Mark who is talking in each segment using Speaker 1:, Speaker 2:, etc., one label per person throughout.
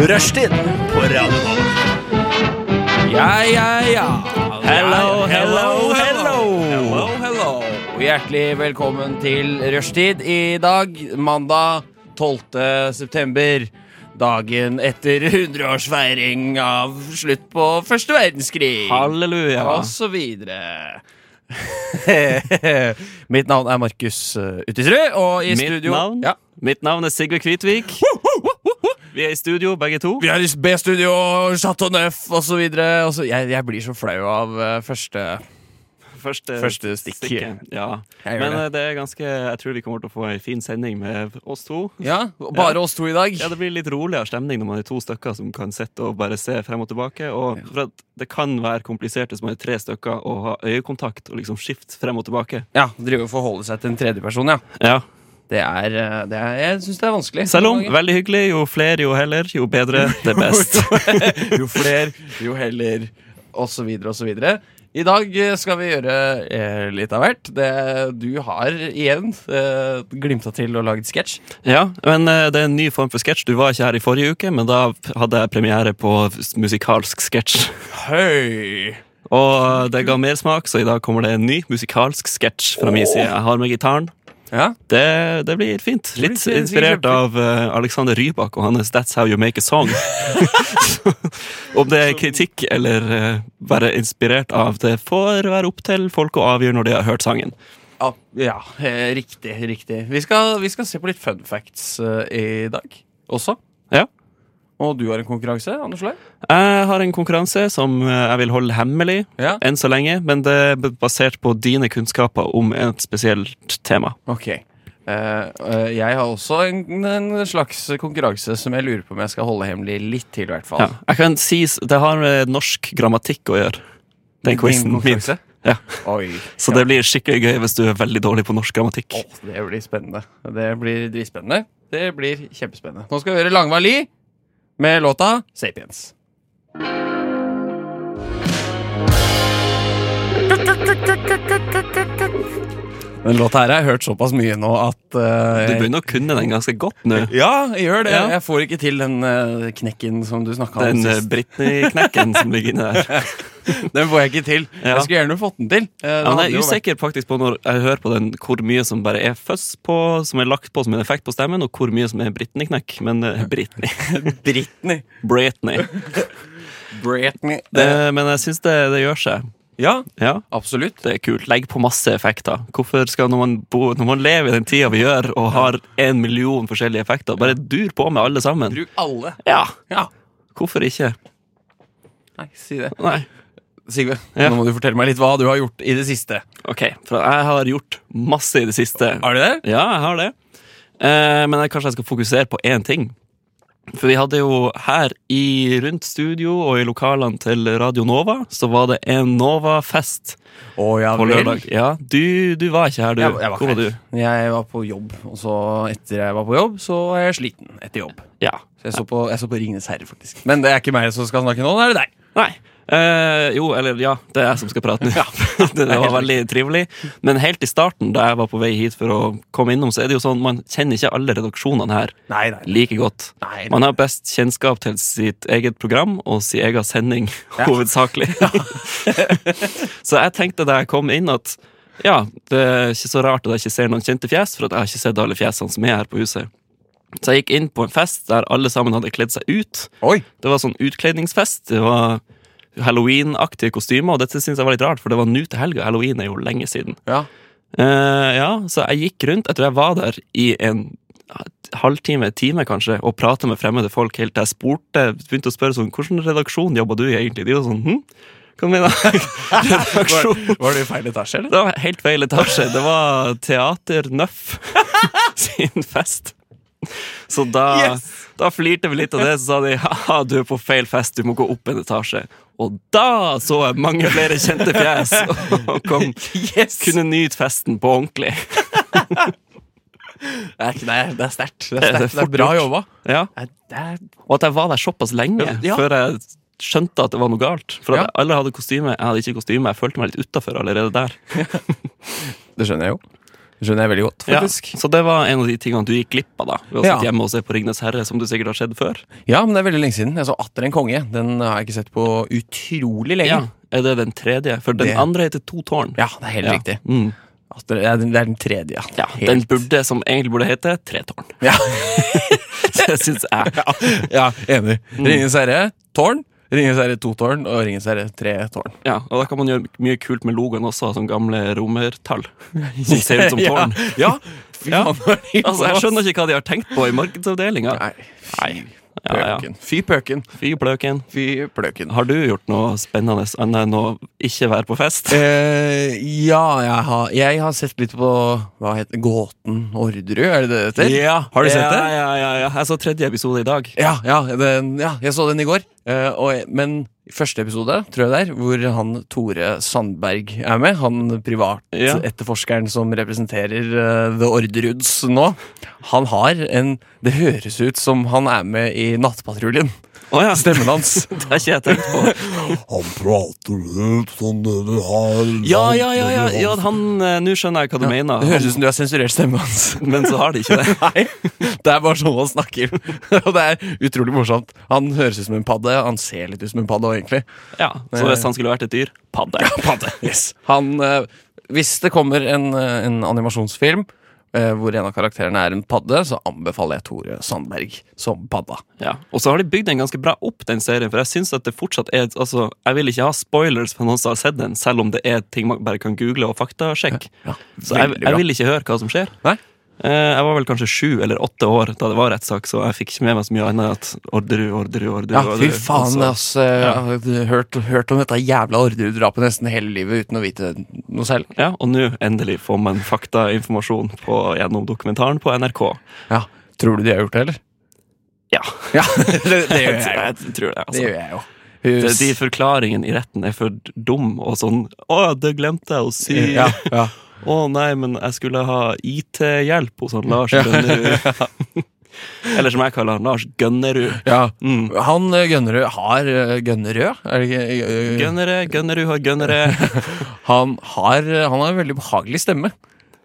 Speaker 1: Rushtid på Radio Nova.
Speaker 2: Ja, ja, ja.
Speaker 1: Hello,
Speaker 2: Ja,
Speaker 1: hello, hello.
Speaker 2: Hello, hello. Hjertelig velkommen til rushtid i dag, mandag 12. september. Dagen etter 100-årsfeiring av slutt på første verdenskrig.
Speaker 3: Halleluja.
Speaker 2: Og så videre. Mitt navn er Markus eh, Utisrud, og i
Speaker 3: Mitt
Speaker 2: studio
Speaker 3: navn?
Speaker 2: Ja.
Speaker 3: Mitt navn er Sigve Kvitvik. Vi er i studio, begge to.
Speaker 2: Vi har B-studio, Chateau Neuf osv. Jeg, jeg blir så flau av eh, første
Speaker 3: Første,
Speaker 2: Første stikk.
Speaker 3: Ja.
Speaker 2: Jeg gjør
Speaker 3: Men eh, det er ganske Jeg tror vi kommer til å få ei en fin sending med oss to.
Speaker 2: Ja, bare oss to i dag.
Speaker 3: Ja, Det blir litt roligere stemning når man er to stykker som kan sitte og bare se frem og tilbake. Og for at Det kan være komplisert hvis man er tre stykker og har øyekontakt og liksom skifte frem og tilbake.
Speaker 2: Ja, Drive og forholde seg til en tredjeperson, ja.
Speaker 3: Ja.
Speaker 2: Det er, eh, det er Jeg syns det er vanskelig.
Speaker 3: Selv om veldig hyggelig. Jo flere, jo heller. Jo bedre, det er best.
Speaker 2: Jo flere, jo heller, og så videre og så videre. I dag eh, skal vi gjøre eh, litt av hvert. Det, du har igjen eh, glimta til og laget sketsj.
Speaker 3: Ja, men eh, det er en ny form for sketsj. Du var ikke her i forrige uke, men da hadde jeg premiere på s- musikalsk sketsj.
Speaker 2: Høy!
Speaker 3: Og eh, det ga mersmak, så i dag kommer det en ny musikalsk sketsj fra min side. Jeg har med gitaren.
Speaker 2: Ja,
Speaker 3: Det, det blir fint.
Speaker 2: blir
Speaker 3: Litt
Speaker 2: sikkert
Speaker 3: inspirert
Speaker 2: kjempefint.
Speaker 3: av eh, Alexander Rybak og hans 'That's How You Make a Song'. Så, Om det er kritikk eller eh, bare inspirert av det, får være opp til folk å avgjøre når de har hørt sangen.
Speaker 2: ja, ja eh, riktig, riktig. Vi skal, vi skal se på litt fun facts eh, i dag også.
Speaker 3: Ja.
Speaker 2: Og du har en konkurranse, Anders Lai.
Speaker 3: Jeg har en konkurranse som eh, jeg vil holde hemmelig.
Speaker 2: Ja.
Speaker 3: enn så lenge, men det er basert på dine kunnskaper om et spesielt tema.
Speaker 2: Ok. Eh, eh, jeg har også en, en slags konkurranse som jeg lurer på om jeg skal holde hemmelig litt til, i hvert fall.
Speaker 3: Ja. Jeg kan si s- Det har med norsk grammatikk å gjøre, den quizen
Speaker 2: Din
Speaker 3: min.
Speaker 2: konkurranse?
Speaker 3: Ja.
Speaker 2: Oi.
Speaker 3: Så det blir skikkelig gøy hvis du er veldig dårlig på norsk grammatikk.
Speaker 2: Åh, det blir spennende. Det blir dritspennende. Det blir kjempespennende. Nå skal vi høre Langvær Li med låta Sapiens. Den låta her har jeg hørt såpass mye nå at eh,
Speaker 3: Du
Speaker 2: jeg-
Speaker 3: begynner å kunne den ganske godt nå.
Speaker 2: Ja, jeg gjør det.
Speaker 3: Ja.
Speaker 2: Jeg får ikke til den eh, knekken som du snakka om
Speaker 3: Den eh,
Speaker 2: sist.
Speaker 3: Britney-knekken som ligger inne der.
Speaker 2: Den får jeg ikke til.
Speaker 3: Ja.
Speaker 2: Jeg skulle gjerne fått den til. Eh, det
Speaker 3: Ja, men
Speaker 2: hadde
Speaker 3: jeg
Speaker 2: jo
Speaker 3: er
Speaker 2: vært-
Speaker 3: usikker faktisk på når jeg hører på den, hvor mye som bare er fuzz på, som er lagt på som en effekt på stemmen, og hvor mye som er Britney-knekk. Men eh, Britney.
Speaker 2: Britney.
Speaker 3: Britney.
Speaker 2: Britney.
Speaker 3: Det,
Speaker 2: Det,
Speaker 3: Eh, men jeg syns det, det gjør seg.
Speaker 2: ja,
Speaker 3: Ja.
Speaker 2: absolutt.
Speaker 3: Det er kult. Legg på masse effekter. Hvorfor skal når man, bo, når man lever i den tida vi gjør, og har en million forskjellige effekter, bare dur på med alle sammen?
Speaker 2: Bruk alle.
Speaker 3: Ja,
Speaker 2: Ja.
Speaker 3: hvorfor ikke?
Speaker 2: Nei, si det.
Speaker 3: Nei.
Speaker 2: Sigve,
Speaker 3: Ja.
Speaker 2: nå må du fortelle meg litt hva du har gjort i det siste.
Speaker 3: Ok, for jeg har gjort masse i det siste.
Speaker 2: Har du det?
Speaker 3: Ja, jeg har det. Eh, men jeg, kanskje jeg skal fokusere på én ting. For vi hadde jo her i rundt studio og i lokalene til Radio Nova, så var det en Nova-fest
Speaker 2: Å ja
Speaker 3: på lørdag. Ja, du, du var ikke her, du.
Speaker 2: Jeg, jeg, var
Speaker 3: Hvor
Speaker 2: ikke
Speaker 3: var du?
Speaker 2: her. jeg var på jobb, og så etter jeg var på jobb, så er jeg sliten etter jobb.
Speaker 3: Ja.
Speaker 2: Så jeg så på, jeg så på Ringenes herre, faktisk. Men det er ikke meg som skal snakke nå, da er det deg.
Speaker 3: Nei. Eh, jo, eller ja, det er jeg som skal prate nå. det, det var veldig trivelig. Men helt i starten, da jeg var på vei hit for å komme innom, så er det jo sånn man kjenner ikke alle redaksjonene her
Speaker 2: Nei, nei.
Speaker 3: like godt.
Speaker 2: Nei,
Speaker 3: Man har best kjennskap til sitt eget program og sin egen sending, hovedsakelig. så jeg tenkte da jeg kom inn, at ja, det er ikke så rart at jeg ikke ser noen kjente fjes, for at jeg har ikke sett alle fjesene som er her på huset. Så jeg gikk inn på en fest der alle sammen hadde kledd seg ut.
Speaker 2: Oi.
Speaker 3: Det var sånn utkledningsfest. Det var Halloween-aktige kostymer, og dette synes jeg var litt rart, for det var nå til helga. Halloween er jo lenge siden.
Speaker 2: Ja.
Speaker 3: Eh, ja, så jeg gikk rundt, jeg tror jeg var der i en halvtime, time kanskje, og pratet med fremmede folk helt til jeg spurte, begynte å spørre sånn, hvordan redaksjon jobber du i egentlig? De var sånn, hm? Hva mener jeg?
Speaker 2: Var,
Speaker 3: Redaksjon?
Speaker 2: var det i feil etasje, eller?
Speaker 3: Det var helt feil etasje. Det var Teater Nøff sin fest. Så da, da flirte vi litt av det, så sa de haha, du er på feil fest, du må gå opp en etasje. Og da så jeg mange flere kjente fjes og kom,
Speaker 2: Yes!
Speaker 3: kunne nyte festen på ordentlig.
Speaker 2: Det er, ikke- det er- det er sterkt. Det er,
Speaker 3: Det er
Speaker 2: sterkt. Det
Speaker 3: fort
Speaker 2: er bra
Speaker 3: gjort.
Speaker 2: jobba.
Speaker 3: Ja.
Speaker 2: Det er- det er-
Speaker 3: Og at jeg var der såpass lenge
Speaker 2: Ja.
Speaker 3: før jeg skjønte at det var noe galt. For at
Speaker 2: Ja.
Speaker 3: alle hadde kostyme, jeg hadde ikke kostyme. Jeg følte meg litt utafor allerede der.
Speaker 2: Det skjønner jeg jo. Det skjønner jeg veldig godt,
Speaker 3: Ja,
Speaker 2: faktisk.
Speaker 3: så det var en av de tingene du gikk glipp av da ved å
Speaker 2: Ja.
Speaker 3: sitte hjemme og se på Ringnes Herre, som du sikkert har sett før.
Speaker 2: Ja. men det er veldig lenge siden. Jeg så Atter en konge. Den har jeg ikke sett på utrolig
Speaker 3: Ja,
Speaker 2: lenge.
Speaker 3: Er det den tredje? For den
Speaker 2: Det-
Speaker 3: andre heter To tårn.
Speaker 2: Ja, det er helt
Speaker 3: Ja.
Speaker 2: riktig.
Speaker 3: Mm.
Speaker 2: Atter, ja, det er den tredje, ja.
Speaker 3: Ja,
Speaker 2: Helt-
Speaker 3: den burde, som egentlig burde hete, Tre tårn.
Speaker 2: ja.
Speaker 3: Det syns jeg.
Speaker 2: ja, Mm. enig. Ringenes herre, tårn. Ringenes herre to tårn og Ringenes herre tre tårn.
Speaker 3: Ja, og da kan man gjøre mye kult med logoen også, som gamle romertall. Som ser ut som tårn.
Speaker 2: Ja, fy
Speaker 3: Ja.
Speaker 2: faen.
Speaker 3: Altså, Jeg skjønner ikke hva de har tenkt på i markedsavdelinga.
Speaker 2: Nei, fy
Speaker 3: Ja, ja.
Speaker 2: pøken. Fy pøken.
Speaker 3: Fy pløken.
Speaker 2: Fy pløken.
Speaker 3: Har du gjort noe spennende annet enn å ikke være på fest?
Speaker 2: Eh, ja, jeg har, jeg har sett litt på Hva heter det? Gåten Orderud, er det det det heter? Har du sett
Speaker 3: ja,
Speaker 2: det?
Speaker 3: Ja, ja, ja. Jeg så tredje episode i dag.
Speaker 2: Ja, ja, den, ja jeg så den i går. Eh, og, jeg- men første episode, tror jeg det er, hvor han Tore Sandberg er med. Han
Speaker 3: Ja.
Speaker 2: privatetterforskeren som representerer eh, The Orderuds nå. Han har en Det høres ut som han er med i Nattpatruljen.
Speaker 3: Å ja, det
Speaker 2: Stemmen hans.
Speaker 3: har ikke jeg tenkt på.
Speaker 1: Han prater sånn ut som dere har
Speaker 3: Ja, ja, ja, ja, ja han, eh, Nå skjønner jeg hva du mener.
Speaker 2: Det høres ut som du har sensurert stemmen hans.
Speaker 3: Men så har de ikke det.
Speaker 2: Nei, det er bare sånn han snakker. Og det er utrolig morsomt. Han høres ut som en padde, han ser litt ut som en padde òg, egentlig.
Speaker 3: Ja, Så hvis han skulle vært et dyr padde.
Speaker 2: Yes. Han, eh, hvis det kommer en, eh, en animasjonsfilm eh, hvor en av karakterene er en padde, så anbefaler jeg Tore Sandberg som padda.
Speaker 3: Ja. Og så har de bygd den ganske bra opp, den serien. For jeg synes at det fortsatt er Altså, jeg vil ikke ha spoilers for noen som har sett den, selv om det er ting man bare kan google og faktasjekke. Så jeg,
Speaker 2: veldig bra.
Speaker 3: jeg vil ikke høre hva som skjer.
Speaker 2: Nei?
Speaker 3: Eh, Jeg var vel kanskje sju eller åtte år da det var rettssak, så jeg fikk ikke med meg så mye annet enn at Orderud, Orderud, Orderud.
Speaker 2: Ja, fy
Speaker 3: Orderud.
Speaker 2: faen,
Speaker 3: Og så-
Speaker 2: ass. eh, Jeg har hørt, hørt om dette jævla Orderud-drapet nesten hele livet uten å vite noe selv.
Speaker 3: Ja, og nå endelig får man faktainformasjon på, gjennom dokumentaren på NRK.
Speaker 2: Ja. Tror du de har gjort det, eller?
Speaker 3: Ja,
Speaker 2: Ja, det, det gjør jeg jo.
Speaker 3: jeg tror det.
Speaker 2: Det
Speaker 3: Altså.
Speaker 2: gjør jeg jo.
Speaker 3: Det, de
Speaker 2: Hus.
Speaker 3: forklaringene i retten er for dum og sånn 'Å, det glemte jeg å si'.
Speaker 2: Ja, ja.
Speaker 3: Å nei, men jeg skulle ha IT-hjelp hos han Lars Gønnerud. Eller som jeg kaller han, Lars Gønnerud.
Speaker 2: ja.
Speaker 3: Mm.
Speaker 2: Han eh, Gønnerød har eh, Gønnerød? Er det ikke eh,
Speaker 3: Gønnere, Gønnerud har Gønnere.
Speaker 2: Han har, han har en veldig behagelig stemme.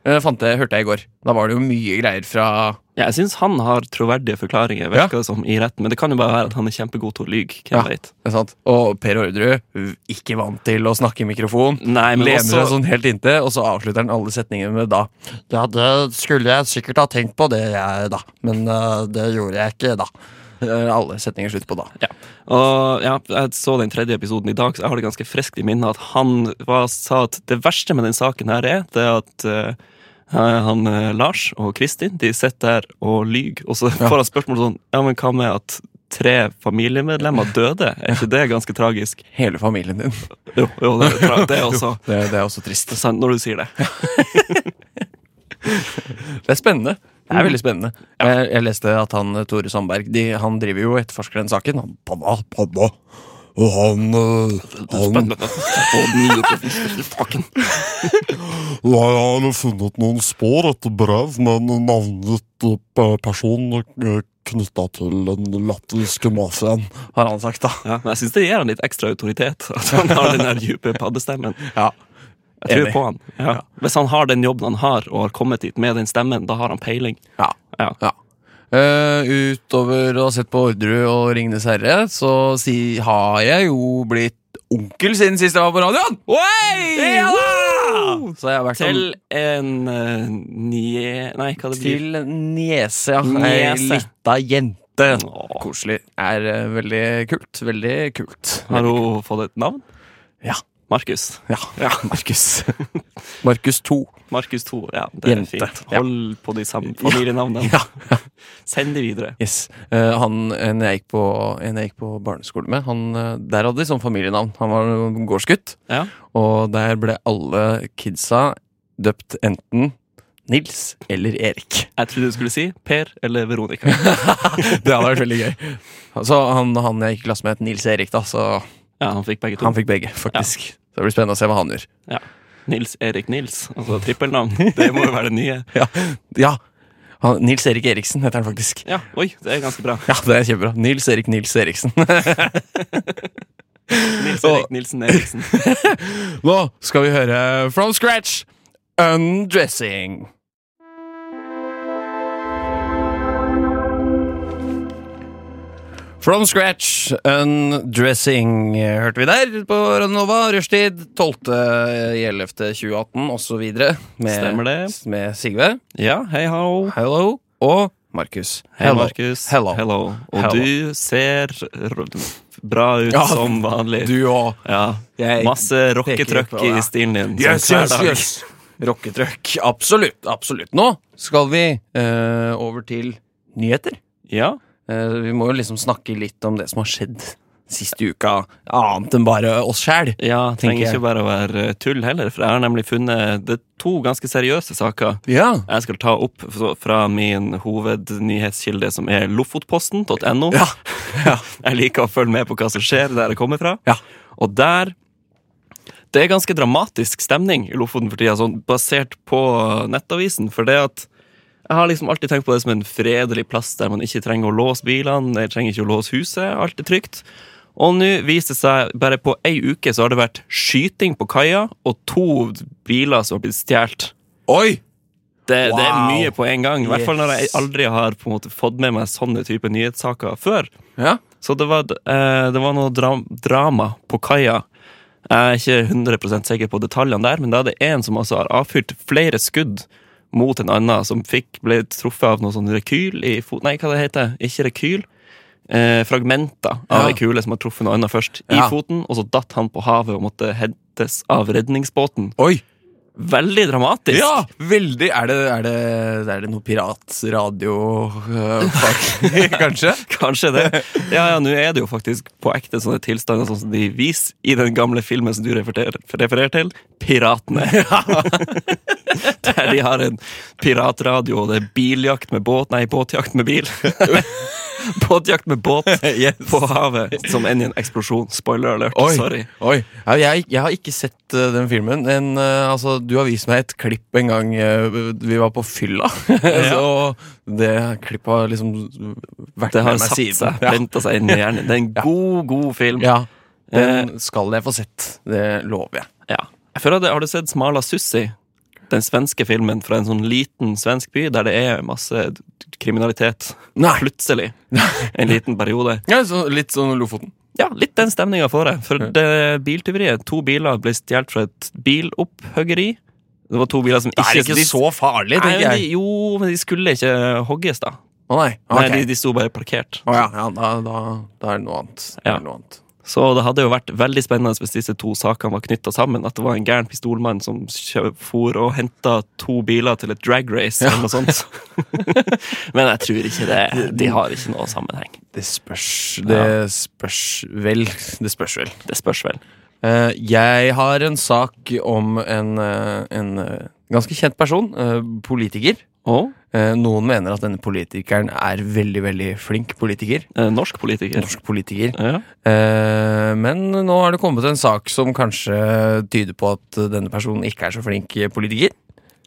Speaker 2: Eh, fant jeg, hørte jeg i går. Da var det jo mye greier fra
Speaker 3: Ja, jeg syns han har troverdige forklaringer, virker det som, i retten. Men det kan jo bare være at han er kjempegod til å lyge. Hvem
Speaker 2: Ja.
Speaker 3: vet.
Speaker 2: ikke sant? Og Per Orderud, v- ikke vant til å snakke i mikrofon.
Speaker 3: Nei, men
Speaker 2: Lener
Speaker 3: også
Speaker 2: seg sånn helt inntil, og så avslutter han alle setningene med da. Ja, det skulle jeg sikkert ha tenkt på, det jeg, da. Men eh, det gjorde jeg ikke, da. Eh, Alle setninger slutter på da.
Speaker 3: ja. Og ja, jeg så den tredje episoden i dag, så jeg har det ganske friskt i minnet at han var, sa at det verste med den saken her er det er at eh, han eh, Lars og Kristin de sitter der og lyver, og så får han spørsmål sånn Ja, men hva med at tre familiemedlemmer døde? Er ikke det ganske tragisk?
Speaker 2: Hele familien din.
Speaker 3: Jo, jo det er tra- det er også
Speaker 2: Det, det er også trist.
Speaker 3: det er sant når du sier det.
Speaker 2: Det er spennende. Det er veldig spennende. Jeg, jeg leste at han eh, Tore Sandberg de, Han driver jo og etterforsker den saken. Han
Speaker 1: Padda, padda. Og han, eh, han Jeg har funnet noen spor etter brev med en navnet eh, person knytta til den latviske mafiaen.
Speaker 2: har han sagt, da.
Speaker 3: Ja, men jeg syns det gir han litt ekstra autoritet. At han har den der dype paddestemmen.
Speaker 2: Ja.
Speaker 3: Jeg tror
Speaker 2: Enig.
Speaker 3: på han. Ja. Hvis han har den jobben han har, og har kommet dit med den stemmen, da har han peiling.
Speaker 2: Ja.
Speaker 3: Ja.
Speaker 2: Eh, utover å ha sett på Orderud og Ringenes herre, så si, har jeg jo blitt onkel siden sist jeg var på radioen!
Speaker 3: Oi!
Speaker 2: Ja da! Så jeg har vært
Speaker 3: Til en eh, nye... Nei, hva det
Speaker 2: sånn-
Speaker 3: blir
Speaker 2: til niese, ja. Ei
Speaker 3: Niese.
Speaker 2: lita jente.
Speaker 3: Åh.
Speaker 2: Koselig. Er eh, veldig kult. Veldig kult.
Speaker 3: Har hun fått et navn?
Speaker 2: Ja.
Speaker 3: Markus.
Speaker 2: Ja, Markus. Markus 2.
Speaker 3: Markus 2. Ja, det er
Speaker 2: Jente.
Speaker 3: fint.
Speaker 2: Ja.
Speaker 3: Hold på de samme familienavnene.
Speaker 2: Ja.
Speaker 3: Send det videre.
Speaker 2: Yes. Eh, han en jeg, gikk på, en jeg gikk på barneskole med, han, eh, der hadde de sånn familienavn. Han var jo gårdsgutt,
Speaker 3: Ja.
Speaker 2: og der ble alle kidsa døpt enten Nils eller Erik.
Speaker 3: Jeg trodde du skulle si Per eller Veronica.
Speaker 2: Det hadde vært veldig gøy. Så han, han jeg gikk i klasse med, het Nils Erik, da, så
Speaker 3: Ja, han fikk begge to.
Speaker 2: han fikk begge, faktisk. Så det blir spennende å se hva han gjør.
Speaker 3: Ja. Nils Erik Nils, altså trippelnavn. Det må jo være det nye.
Speaker 2: Ja, ja. Han, Nils Erik Eriksen heter han faktisk.
Speaker 3: Ja, oi, det er ganske bra.
Speaker 2: Ja, det er kjempebra. Nils Erik Nils Eriksen.
Speaker 3: Nils Erik Nilsen Eriksen.
Speaker 2: Nå skal vi høre From Scratch Undressing. From Scratch, Undressing, hørte vi der på Radionova. Rushtid 12.11.2018 osv.
Speaker 3: Stemmer
Speaker 2: Med,
Speaker 3: det.
Speaker 2: med Sigve.
Speaker 3: Ja, hei ho.
Speaker 2: Hello. Og Markus.
Speaker 3: Hei,
Speaker 2: Hello.
Speaker 3: Markus.
Speaker 2: Hello.
Speaker 3: Og
Speaker 2: Hello.
Speaker 3: du ser r- bra ut
Speaker 2: Ja,
Speaker 3: som vanlig.
Speaker 2: Du òg.
Speaker 3: ja.
Speaker 2: Jeg
Speaker 3: Masse
Speaker 2: litt på
Speaker 3: rocketrøkk
Speaker 2: deg.
Speaker 3: i stilen din. som
Speaker 2: Yes,
Speaker 3: hver
Speaker 2: yes,
Speaker 3: dag.
Speaker 2: yes. Rocketrøkk. Absolutt. Absolutt. Nå skal vi eh, over til nyheter.
Speaker 3: Ja.
Speaker 2: Eh, vi må jo liksom snakke litt om det som har skjedd siste uka, annet enn bare oss sjæl.
Speaker 3: ja
Speaker 2: Tenker
Speaker 3: trenger
Speaker 2: jeg.
Speaker 3: ikke bare å være tull heller, for jeg har nemlig funnet det er to ganske seriøse saker
Speaker 2: Ja.
Speaker 3: jeg skal ta opp f- fra min hovednyhetskilde, som er lofotposten.no.
Speaker 2: Ja. ja.
Speaker 3: Jeg liker å følge med på hva som skjer der jeg kommer fra.
Speaker 2: Ja.
Speaker 3: Og der Det er ganske dramatisk stemning i Lofoten for tida, sånn basert på nettavisen. For det at jeg har liksom alltid tenkt på det som en fredelig plass der man ikke trenger å låse bilene, jeg trenger ikke å låse huset, alt er trygt. Og nå viser det seg, bare på ei uke, så har det vært skyting på kaia, og to biler som har blitt stjålet.
Speaker 2: Oi!
Speaker 3: Det, det er
Speaker 2: Wow.
Speaker 3: mye på en gang. I hvert fall når jeg
Speaker 2: Yes.
Speaker 3: aldri har på en måte fått med meg sånne type nyhetssaker før.
Speaker 2: Ja.
Speaker 3: Så det var, eh, det var noe dra drama på kaia. Jeg er ikke 100 sikker på detaljene der, men da er det en som altså har avfyrt flere skudd mot en annen, som fikk, ble truffet av noe sånn rekyl i fot... Nei, hva det heter Ikke rekyl. Eh, fragmenter av
Speaker 2: Ja.
Speaker 3: ei kule som har truffet noe annet først
Speaker 2: Ja.
Speaker 3: i foten, og så datt han på havet og måtte hentes av redningsbåten.
Speaker 2: Oi!
Speaker 3: Veldig dramatisk!
Speaker 2: Ja, veldig. Er det, er det, er det noe piratradio-fag, kanskje?
Speaker 3: Kanskje det. Ja, ja, nå er det jo faktisk på ekte sånne tilstander sånn som de viser i den gamle filmen som du refererer, refererer til, Piratene. Der de har en piratradio, og det er biljakt med båt, nei, båtjakt med bil. båtjakt med båt på havet, som ender i en eksplosjon. Spoiler alert,
Speaker 2: Oi,
Speaker 3: sorry.
Speaker 2: oi. Ja, jeg, jeg har ikke sett eh, den filmen. En, eh, altså, du har vist meg et klipp en gang eh, vi var på fylla. Så det klippet har liksom vært
Speaker 3: Det har
Speaker 2: med meg
Speaker 3: satt
Speaker 2: siden.
Speaker 3: seg, plenta seg inn i hjernen. Det er en god, god film.
Speaker 2: Ja. ja, den skal jeg få sett. Det lover jeg.
Speaker 3: Ja. Jeg føler det, Har du sett Smala Sussi? Den svenske filmen fra en sånn liten svensk by der det er masse d- kriminalitet.
Speaker 2: Nei.
Speaker 3: Plutselig. En liten periode.
Speaker 2: Ja, så litt sånn Lofoten.
Speaker 3: Ja, litt den stemninga får jeg. For det biltyveriet. To biler ble stjålet fra et bilopphuggeri. Det var to biler som
Speaker 2: Det
Speaker 3: ikke
Speaker 2: er ikke
Speaker 3: de-
Speaker 2: så farlig,
Speaker 3: Nei,
Speaker 2: tenker
Speaker 3: men de,
Speaker 2: jeg.
Speaker 3: Jo, men de skulle ikke hogges, da.
Speaker 2: Å nei.
Speaker 3: Nei,
Speaker 2: ok.
Speaker 3: de, de sto bare parkert.
Speaker 2: Å ja, ja da, da, da er det noe annet. Da er
Speaker 3: Ja.
Speaker 2: det noe annet.
Speaker 3: Så det hadde jo vært veldig spennende hvis disse to sakene var knytta sammen. At det var en gæren pistolmann som kjø- for og henta to biler til et drag race eller noe sånt. Men jeg tror ikke det. De har ikke noe sammenheng.
Speaker 2: Det spørs Det spørs vel. Det spørs vel.
Speaker 3: Det spørs vel.
Speaker 2: Eh, jeg har en sak om en, eh, en eh, ganske kjent person. eh, politiker.
Speaker 3: Og
Speaker 2: Eh, noen mener at denne politikeren er veldig, veldig flink politiker.
Speaker 3: eh, norsk politiker.
Speaker 2: Norsk politiker.
Speaker 3: Ja.
Speaker 2: Eh, men nå har det kommet en sak som kanskje tyder på at denne personen ikke er så flink politiker.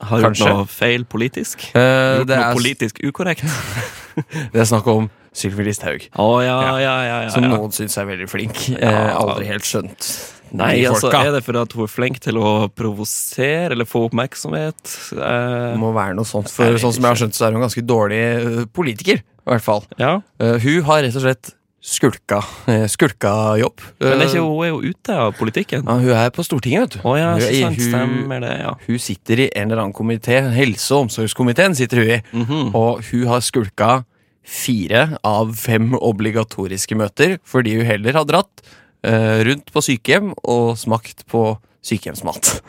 Speaker 3: Har gjort
Speaker 2: Kanskje.
Speaker 3: noe feil politisk.
Speaker 2: Eh,
Speaker 3: Gjort
Speaker 2: det,
Speaker 3: noe
Speaker 2: er,
Speaker 3: politisk ukorrekt.
Speaker 2: det er snakk om Sylvi Listhaug.
Speaker 3: Å ja, ja, ja. ja,
Speaker 2: Som
Speaker 3: ja.
Speaker 2: noen syns er veldig flink. Eh,
Speaker 3: Ja.
Speaker 2: aldri helt skjønt.
Speaker 3: Nei,
Speaker 2: de
Speaker 3: altså,
Speaker 2: folka.
Speaker 3: er det fordi at hun er flink til å provosere eller få oppmerksomhet? Eh,
Speaker 2: Det må være noe sånt,
Speaker 3: Jeg
Speaker 2: for
Speaker 3: vet
Speaker 2: sånn som jeg har skjønt, så er hun ganske dårlig eh, politiker, i hvert fall.
Speaker 3: ja.
Speaker 2: Eh, hun har rett og slett skulka, eh, skulka jobb.
Speaker 3: Men er
Speaker 2: Eh,
Speaker 3: ikke, hun er jo ute av politikken.
Speaker 2: ja, hun er på Stortinget, vet du.
Speaker 3: Å ja,
Speaker 2: hun, er
Speaker 3: ikke
Speaker 2: i-
Speaker 3: sant.
Speaker 2: hun,
Speaker 3: Stemmer det, ja.
Speaker 2: hun sitter i en eller annen komité, helse- og omsorgskomiteen sitter hun i,
Speaker 3: Mhm.
Speaker 2: og hun har skulka fire av fem obligatoriske møter, fordi hun heller har dratt eh, rundt på sykehjem og smakt på sykehjemsmat.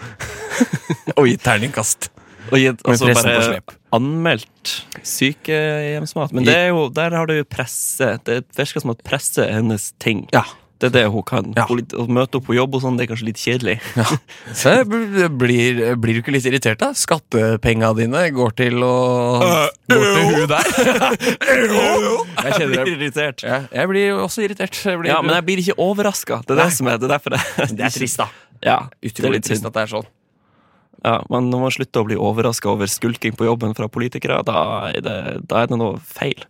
Speaker 2: og gitt terningkast.
Speaker 3: Og gitt,
Speaker 2: Med
Speaker 3: altså
Speaker 2: pressen på
Speaker 3: bare
Speaker 2: slep.
Speaker 3: anmeldt sykehjemsmat. Men det er jo, der har du jo presse. Det virker som at presse er hennes ting.
Speaker 2: Ja.
Speaker 3: Det er det hun kan.
Speaker 2: Ja.
Speaker 3: Polit- Å møte opp på jobb og sånn, det er kanskje litt kjedelig.
Speaker 2: Så jeg bl- blir, blir du ikke litt irritert, da? Skattepenga dine går til å Går til hun der. jeg
Speaker 3: Jeg
Speaker 2: kjenner
Speaker 3: blir
Speaker 2: det.
Speaker 3: irritert.
Speaker 2: Ja, jeg blir jo også irritert. Jeg blir,
Speaker 3: Ja, men jeg blir ikke overraska. Det er det som er, det er derfor jeg
Speaker 2: Det er trist, da.
Speaker 3: Ja, det er
Speaker 2: Utrolig
Speaker 3: litt
Speaker 2: trist
Speaker 3: synd.
Speaker 2: at det er sånn.
Speaker 3: Ja, men når man slutter å bli overraska over skulking på jobben fra politikere, da er det, da er det noe feil.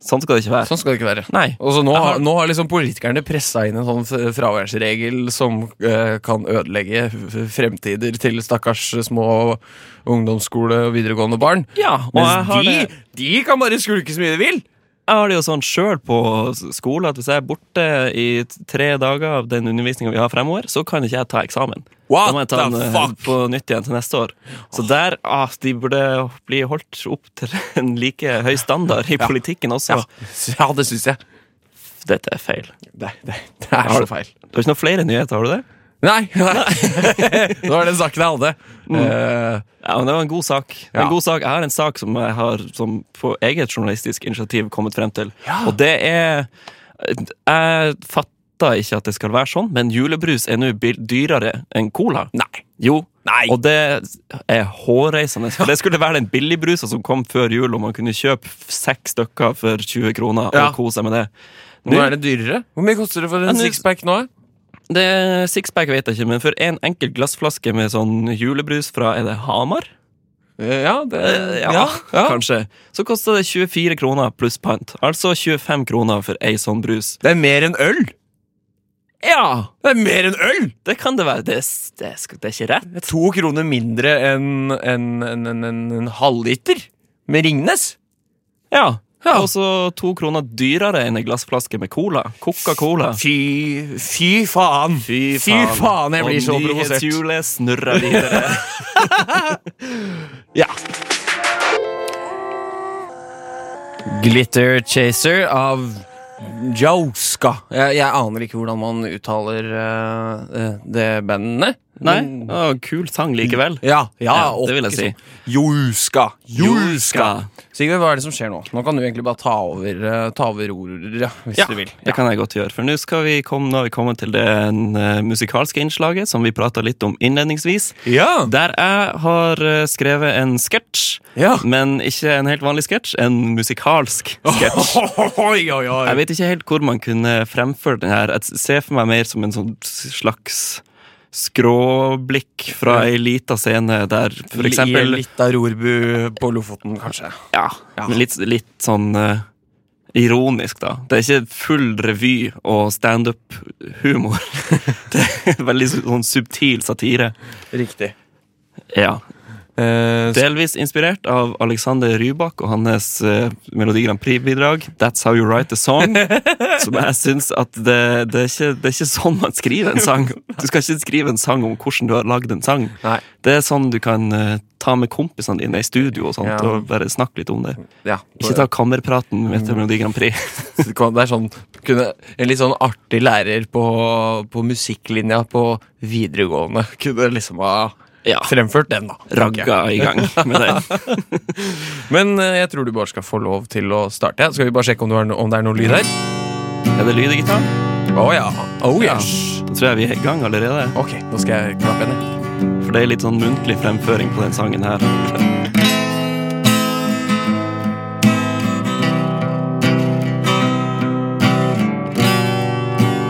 Speaker 3: Sånn skal det ikke være.
Speaker 2: Sånn skal det ikke være.
Speaker 3: Nei.
Speaker 2: Og så nå,
Speaker 3: Jeg har-
Speaker 2: har- nå har liksom politikerne pressa inn en sånn f- fraværsregel som eh, kan ødelegge f- fremtider til stakkars små ungdomsskole- og videregående barn.
Speaker 3: Ja, og jeg
Speaker 2: Mens
Speaker 3: har
Speaker 2: de,
Speaker 3: det.
Speaker 2: de kan bare skulke så mye de vil!
Speaker 3: Jeg har det jo sånn sjøl på skole at hvis jeg er borte i t- tre dager av den undervisninga vi har fremover, så kan ikke jeg ta eksamen.
Speaker 2: What
Speaker 3: da må jeg ta
Speaker 2: the
Speaker 3: den eh,
Speaker 2: fuck?
Speaker 3: på nytt igjen til neste år. Så der, ah, de burde bli holdt opp til en like høy standard i politikken også.
Speaker 2: Ja, det syns jeg.
Speaker 3: Dette er feil.
Speaker 2: Det, det, det er så feil.
Speaker 3: Du har ikke noen flere nyheter, har du det?
Speaker 2: Nei! nei. det var den saken jeg hadde.
Speaker 3: Mm.
Speaker 2: Eh,
Speaker 3: Ja, men Det var en god sak. Det er
Speaker 2: Ja.
Speaker 3: En god sak. Jeg har en sak som jeg har som på eget journalistisk initiativ kommet frem til. Og det er Jeg fatter ikke at det skal være sånn, men julebrus er nå bil- dyrere enn cola.
Speaker 2: nei.
Speaker 3: Jo.
Speaker 2: Nei.
Speaker 3: Og det er hårreisende. For Det skulle være den billigbrusa som kom før jul, og man kunne kjøpe seks stykker for 20 kroner
Speaker 2: Ja.
Speaker 3: og kose seg med det.
Speaker 2: Nå er det dyrere. Hvor mye koster det for en
Speaker 3: nå-
Speaker 2: sixpack nå?
Speaker 3: Det er Sixpack vet jeg ikke, men for en enkel glassflaske med sånn julebrus fra Er det Hamar?
Speaker 2: Eh, Ja, det
Speaker 3: Eh, ja, kanskje. Så koster det 24 kroner pluss pant. Altså 25 kroner for ei sånn brus.
Speaker 2: Det er mer enn øl!
Speaker 3: Ja!
Speaker 2: Det er mer enn øl!
Speaker 3: Det kan det være. Det, er- det, er- det er ikke rett.
Speaker 2: To kroner mindre enn en, en, en, en, en halvliter med Ringnes.
Speaker 3: Ja.
Speaker 2: Ja.
Speaker 3: Og så to kroner dyrere enn ei glassflaske med cola. Coca-Cola.
Speaker 2: Fy, fy faen! Fy faen, jeg blir så provosert.
Speaker 3: Og nyhetshjulet snurrer videre.
Speaker 2: Ja. Glitter Chaser av Joska. Jeg, jeg aner ikke hvordan man uttaler eh, eh, det bandet.
Speaker 3: Nei,
Speaker 2: Men-
Speaker 3: å, kul sang likevel.
Speaker 2: Ja, ja,
Speaker 3: Ja,
Speaker 2: og
Speaker 3: det vil jeg
Speaker 2: ikke
Speaker 3: si.
Speaker 2: sånn. Joska. Joska.
Speaker 3: Juska.
Speaker 2: Sigurd, hva er det som skjer nå? Nå kan du egentlig bare ta over, eh, ta over ordet, ja, hvis
Speaker 3: Ja,
Speaker 2: du vil.
Speaker 3: det kan jeg godt gjøre. For nå skal vi komme, nå har vi kommet til det eh, musikalske innslaget som vi prata litt om innledningsvis.
Speaker 2: Ja.
Speaker 3: Der jeg har eh, skrevet en sketsj,
Speaker 2: Ja.
Speaker 3: men ikke en helt vanlig sketsj, en musikalsk sketsj.
Speaker 2: Oi, oi,
Speaker 3: Jeg
Speaker 2: oi.
Speaker 3: vet ikke helt hvor man kunne fremført den her. Jeg ser for meg mer som en sånn slags skråblikk fra ei lita scene der
Speaker 2: I
Speaker 3: for eksempel
Speaker 2: Litt av Rorbu på Lofoten, kanskje.
Speaker 3: ja,
Speaker 2: Ja.
Speaker 3: men litt, litt sånn eh, ironisk, da. Det er ikke full revy og standup-humor. Det er veldig sånn subtil satire.
Speaker 2: Riktig.
Speaker 3: Ja.
Speaker 2: Eh,
Speaker 3: Delvis inspirert av Alexander Rybak og hans eh, Melodi Grand Prix-bidrag That's How You Write a Song. Som jeg syns at det, det, er ikke, det er ikke sånn man skriver en sang. Du skal ikke skrive en sang om hvordan du har lagd en sang.
Speaker 2: Nei.
Speaker 3: Det er sånn du kan eh, ta med kompisene dine i studio og sånt
Speaker 2: Ja.
Speaker 3: og bare snakke litt om det.
Speaker 2: ja.
Speaker 3: Ikke ta kammerpraten med
Speaker 2: Mm.
Speaker 3: til Melodi Grand Prix.
Speaker 2: Det kan- det er sånn kunne, En litt sånn artig lærer på, på musikklinja på videregående kunne liksom ha
Speaker 3: Ja.
Speaker 2: fremført den, da. tenker jeg.
Speaker 3: Ragga i gang med det.
Speaker 2: Men eh, jeg tror du bare skal få lov til å starte. Skal vi bare sjekke om, du har no om det er noe lyd her?
Speaker 3: Er det lyd i gitaren?
Speaker 2: Å ja. Oh, ja.
Speaker 3: Da tror jeg vi er i gang allerede.
Speaker 2: Ok, nå skal jeg klappe henne.
Speaker 3: For det er litt sånn muntlig fremføring på den sangen her.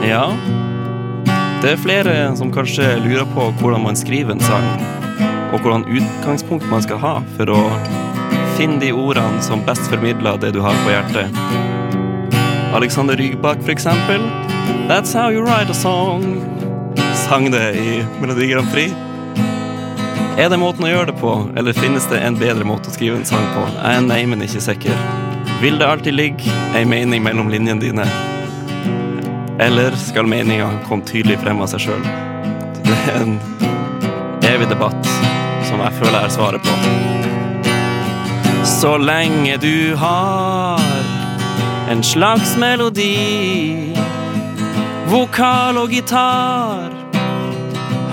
Speaker 3: Ja Det er flere som kanskje lurer på hvordan man skriver en sang, og hvordan utgangspunkt man skal ha for å finne de ordene som best formidler det du har på hjertet. Alexander Rygbakk, for eksempel. That's how you write a song. Sang det i Melodi Grand Prix. Er det måten å gjøre det på, eller finnes det en bedre måte å skrive en sang på? Jeg er nei, men ikke sikker. Vil det alltid ligge ei mening mellom linjene dine? Eller skal meninga komme tydelig frem av seg sjøl? Det er en evig debatt som jeg føler jeg har svaret på. Så lenge du har en slags melodi, vokal og gitar,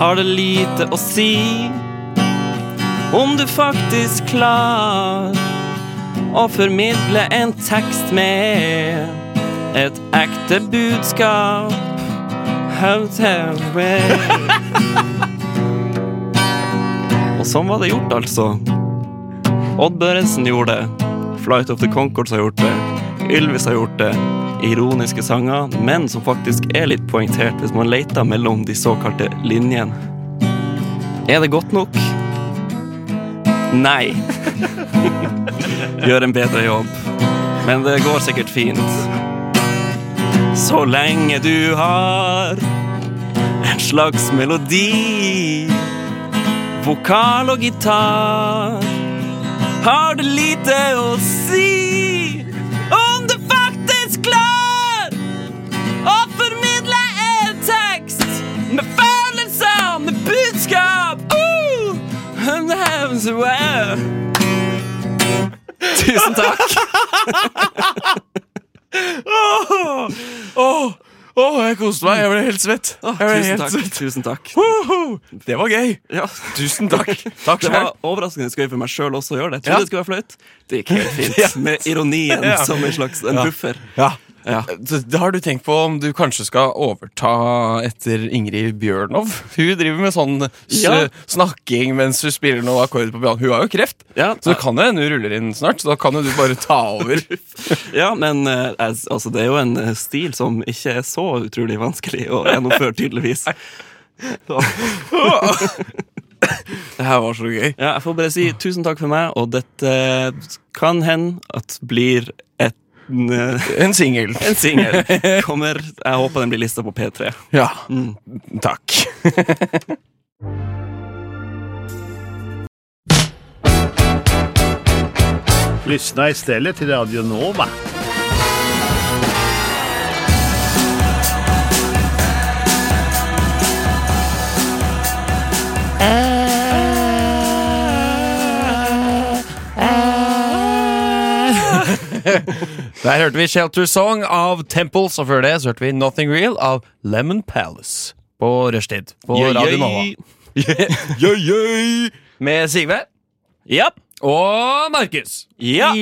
Speaker 3: har det lite å si om du faktisk klarer å formidle en tekst med et ekte budskap. Hotel way. Og sånn var det gjort, altså. Odd Børresen gjorde det. Flight of the Conchords har gjort det. Ylvis har gjort det. Ironiske sanger, men som faktisk er litt poengtert hvis man leter mellom de såkalte linjene. Er det godt nok? Nei. Gjør en bedre jobb. Men det går sikkert fint. Så lenge du har en slags melodi, vokal og gitar, har det lite å si om det faktisk Wow. Tusen takk.
Speaker 2: Åh, åh, jeg koste meg. Jeg ble helt svett. Jeg ble
Speaker 3: Tusen
Speaker 2: helt
Speaker 3: takk.
Speaker 2: svett.
Speaker 3: Tusen takk.
Speaker 2: Woho! Det var gøy.
Speaker 3: Ja.
Speaker 2: Tusen takk. Takk
Speaker 3: Det
Speaker 2: selv.
Speaker 3: var overraskende skøy for meg sjøl også å gjøre det. Jeg
Speaker 2: Ja.
Speaker 3: trodde det skulle være flaut. Det gikk helt fint. Med ironien
Speaker 2: Ja.
Speaker 3: som en slags en buffer.
Speaker 2: Ja.
Speaker 3: Ja.
Speaker 2: Det, det har du tenkt på om du kanskje skal overta etter Ingrid Bjørnov? Hun driver med sånn s-
Speaker 3: Ja.
Speaker 2: snakking mens hun spiller noen akkorder på piano. Hun har jo kreft,
Speaker 3: Ja.
Speaker 2: så det kan jo hende hun ruller inn snart. Så da kan jo du bare ta over.
Speaker 3: Ja, men eh, jeg- altså, det er jo en eh, stil som ikke er så utrolig vanskelig å gjennomføre, tydeligvis.
Speaker 2: Det her var så gøy.
Speaker 3: Ja, jeg får bare si tusen takk for meg, og dette kan hende at blir et, en, eh,
Speaker 2: En singel.
Speaker 3: en singel. Kommer Jeg håper den blir lista på P3.
Speaker 2: Ja. Takk.
Speaker 4: Lyssna istället till Radio Nova.
Speaker 2: Der hørte vi Shelter Song av Temples, og før det så hørte vi Nothing Real av Lemon Palace på rushtid på
Speaker 3: Jøy,
Speaker 2: Radio
Speaker 3: jøy.
Speaker 2: Nova. Jøy, jøy. Med Sigve
Speaker 3: Ja.
Speaker 2: og Markus.
Speaker 3: Ja.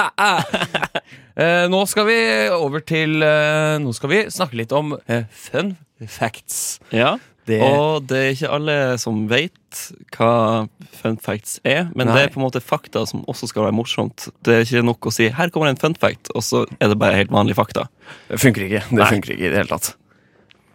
Speaker 2: Eh, nå skal vi over til eh, Nå skal vi snakke litt om eh, fun facts.
Speaker 3: ja.
Speaker 2: Det-
Speaker 3: Og det er ikke alle som vet hva fun facts er, men
Speaker 2: Nei.
Speaker 3: det er på en måte fakta som også skal være morsomt. Det er ikke nok å si 'her kommer en fun fact', og så er det bare helt vanlige fakta.
Speaker 2: Det funker ikke. Det funker ikke i det hele tatt.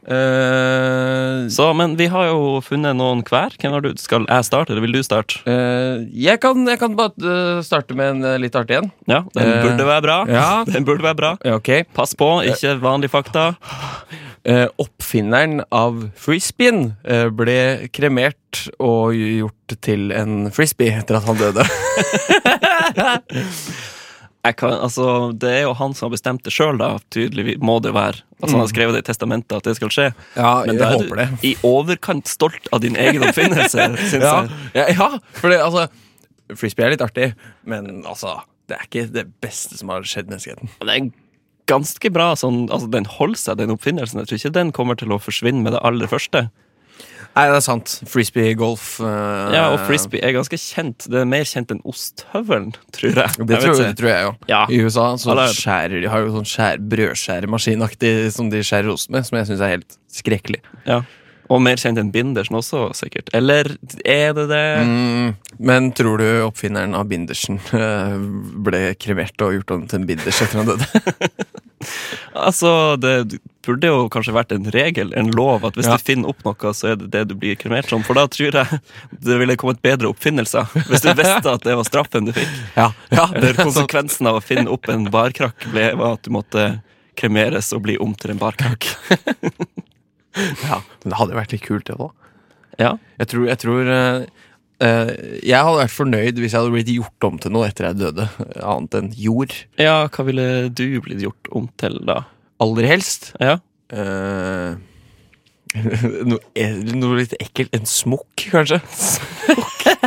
Speaker 2: Eh,
Speaker 3: Så, men vi har jo funnet noen hver. Hvem har du? Skal jeg starte, eller vil du starte?
Speaker 2: eh, jeg, kan, jeg kan bare eh, starte med en eh, litt artig en.
Speaker 3: Ja, Den
Speaker 2: Eh,
Speaker 3: burde være bra.
Speaker 2: ja. Eh.
Speaker 3: Den burde være bra.
Speaker 2: Ja, Ok.
Speaker 3: Pass på, ikke vanlige fakta.
Speaker 2: Eh, oppfinneren av frisbeen eh, ble kremert og gjort til en frisbee etter at han døde.
Speaker 3: Jeg kan, altså, det er jo han som har bestemt det sjøl, da. Tydeligvis må det være. Altså, han har skrevet det i testamentet at det skal skje.
Speaker 2: Mm. Ja,
Speaker 3: Men
Speaker 2: jeg
Speaker 3: da er
Speaker 2: håper det.
Speaker 3: du i overkant stolt av din egen oppfinnelse, syns
Speaker 2: Ja,
Speaker 3: jeg.
Speaker 2: ja, ja for det, altså Frisbee er litt artig, men altså det er ikke det beste som har skjedd menneskeheten.
Speaker 3: Og Det er en ganske bra sånn Altså, den holder seg, den oppfinnelsen. Jeg tror ikke den kommer til å forsvinne med det aller første.
Speaker 2: Nei, det er sant. eh, Frisbee-golf
Speaker 3: Ja, og frisbee er ganske kjent. Det er mer kjent enn osthøvelen, tror jeg.
Speaker 2: Det
Speaker 3: Jeg
Speaker 2: tror,
Speaker 3: vet
Speaker 2: det
Speaker 3: ikke.
Speaker 2: tror jeg jo.
Speaker 3: Ja.
Speaker 2: I USA så
Speaker 3: Alle-
Speaker 2: skjærer de har jo sånn skjær, brødskjæremaskinaktig som de skjærer ost med, som jeg syns er helt skrekkelig.
Speaker 3: Ja. Og mer kjent enn bindersen også, sikkert. Eller er det det?
Speaker 2: Mm. Men tror du oppfinneren av bindersen eh, ble kremert og gjort om til en binders etter han døde?
Speaker 3: Altså, det burde jo kanskje vært en regel, en lov, at hvis
Speaker 2: Ja.
Speaker 3: du finner opp noe, så er det det du blir kremert som. For da tror jeg det ville kommet bedre oppfinnelser. Hvis du visste at det var straffen du fikk.
Speaker 2: Ja, ja det
Speaker 3: Eller konsekvensen av å finne opp en barkrakk ble var at du måtte kremeres og bli om til en barkrakk.
Speaker 2: ja. Men det hadde jo vært litt kult, det da.
Speaker 3: Ja.
Speaker 2: Jeg tror, jeg tror eh, eh, Jeg hadde vært fornøyd hvis jeg hadde blitt gjort om til noe etter jeg døde, eh, annet enn jord.
Speaker 3: ja, hva ville du blitt gjort om til da?
Speaker 2: Aller helst.
Speaker 3: Ja.
Speaker 2: eh, noe, e, noe litt ekkelt. En smokk, kanskje.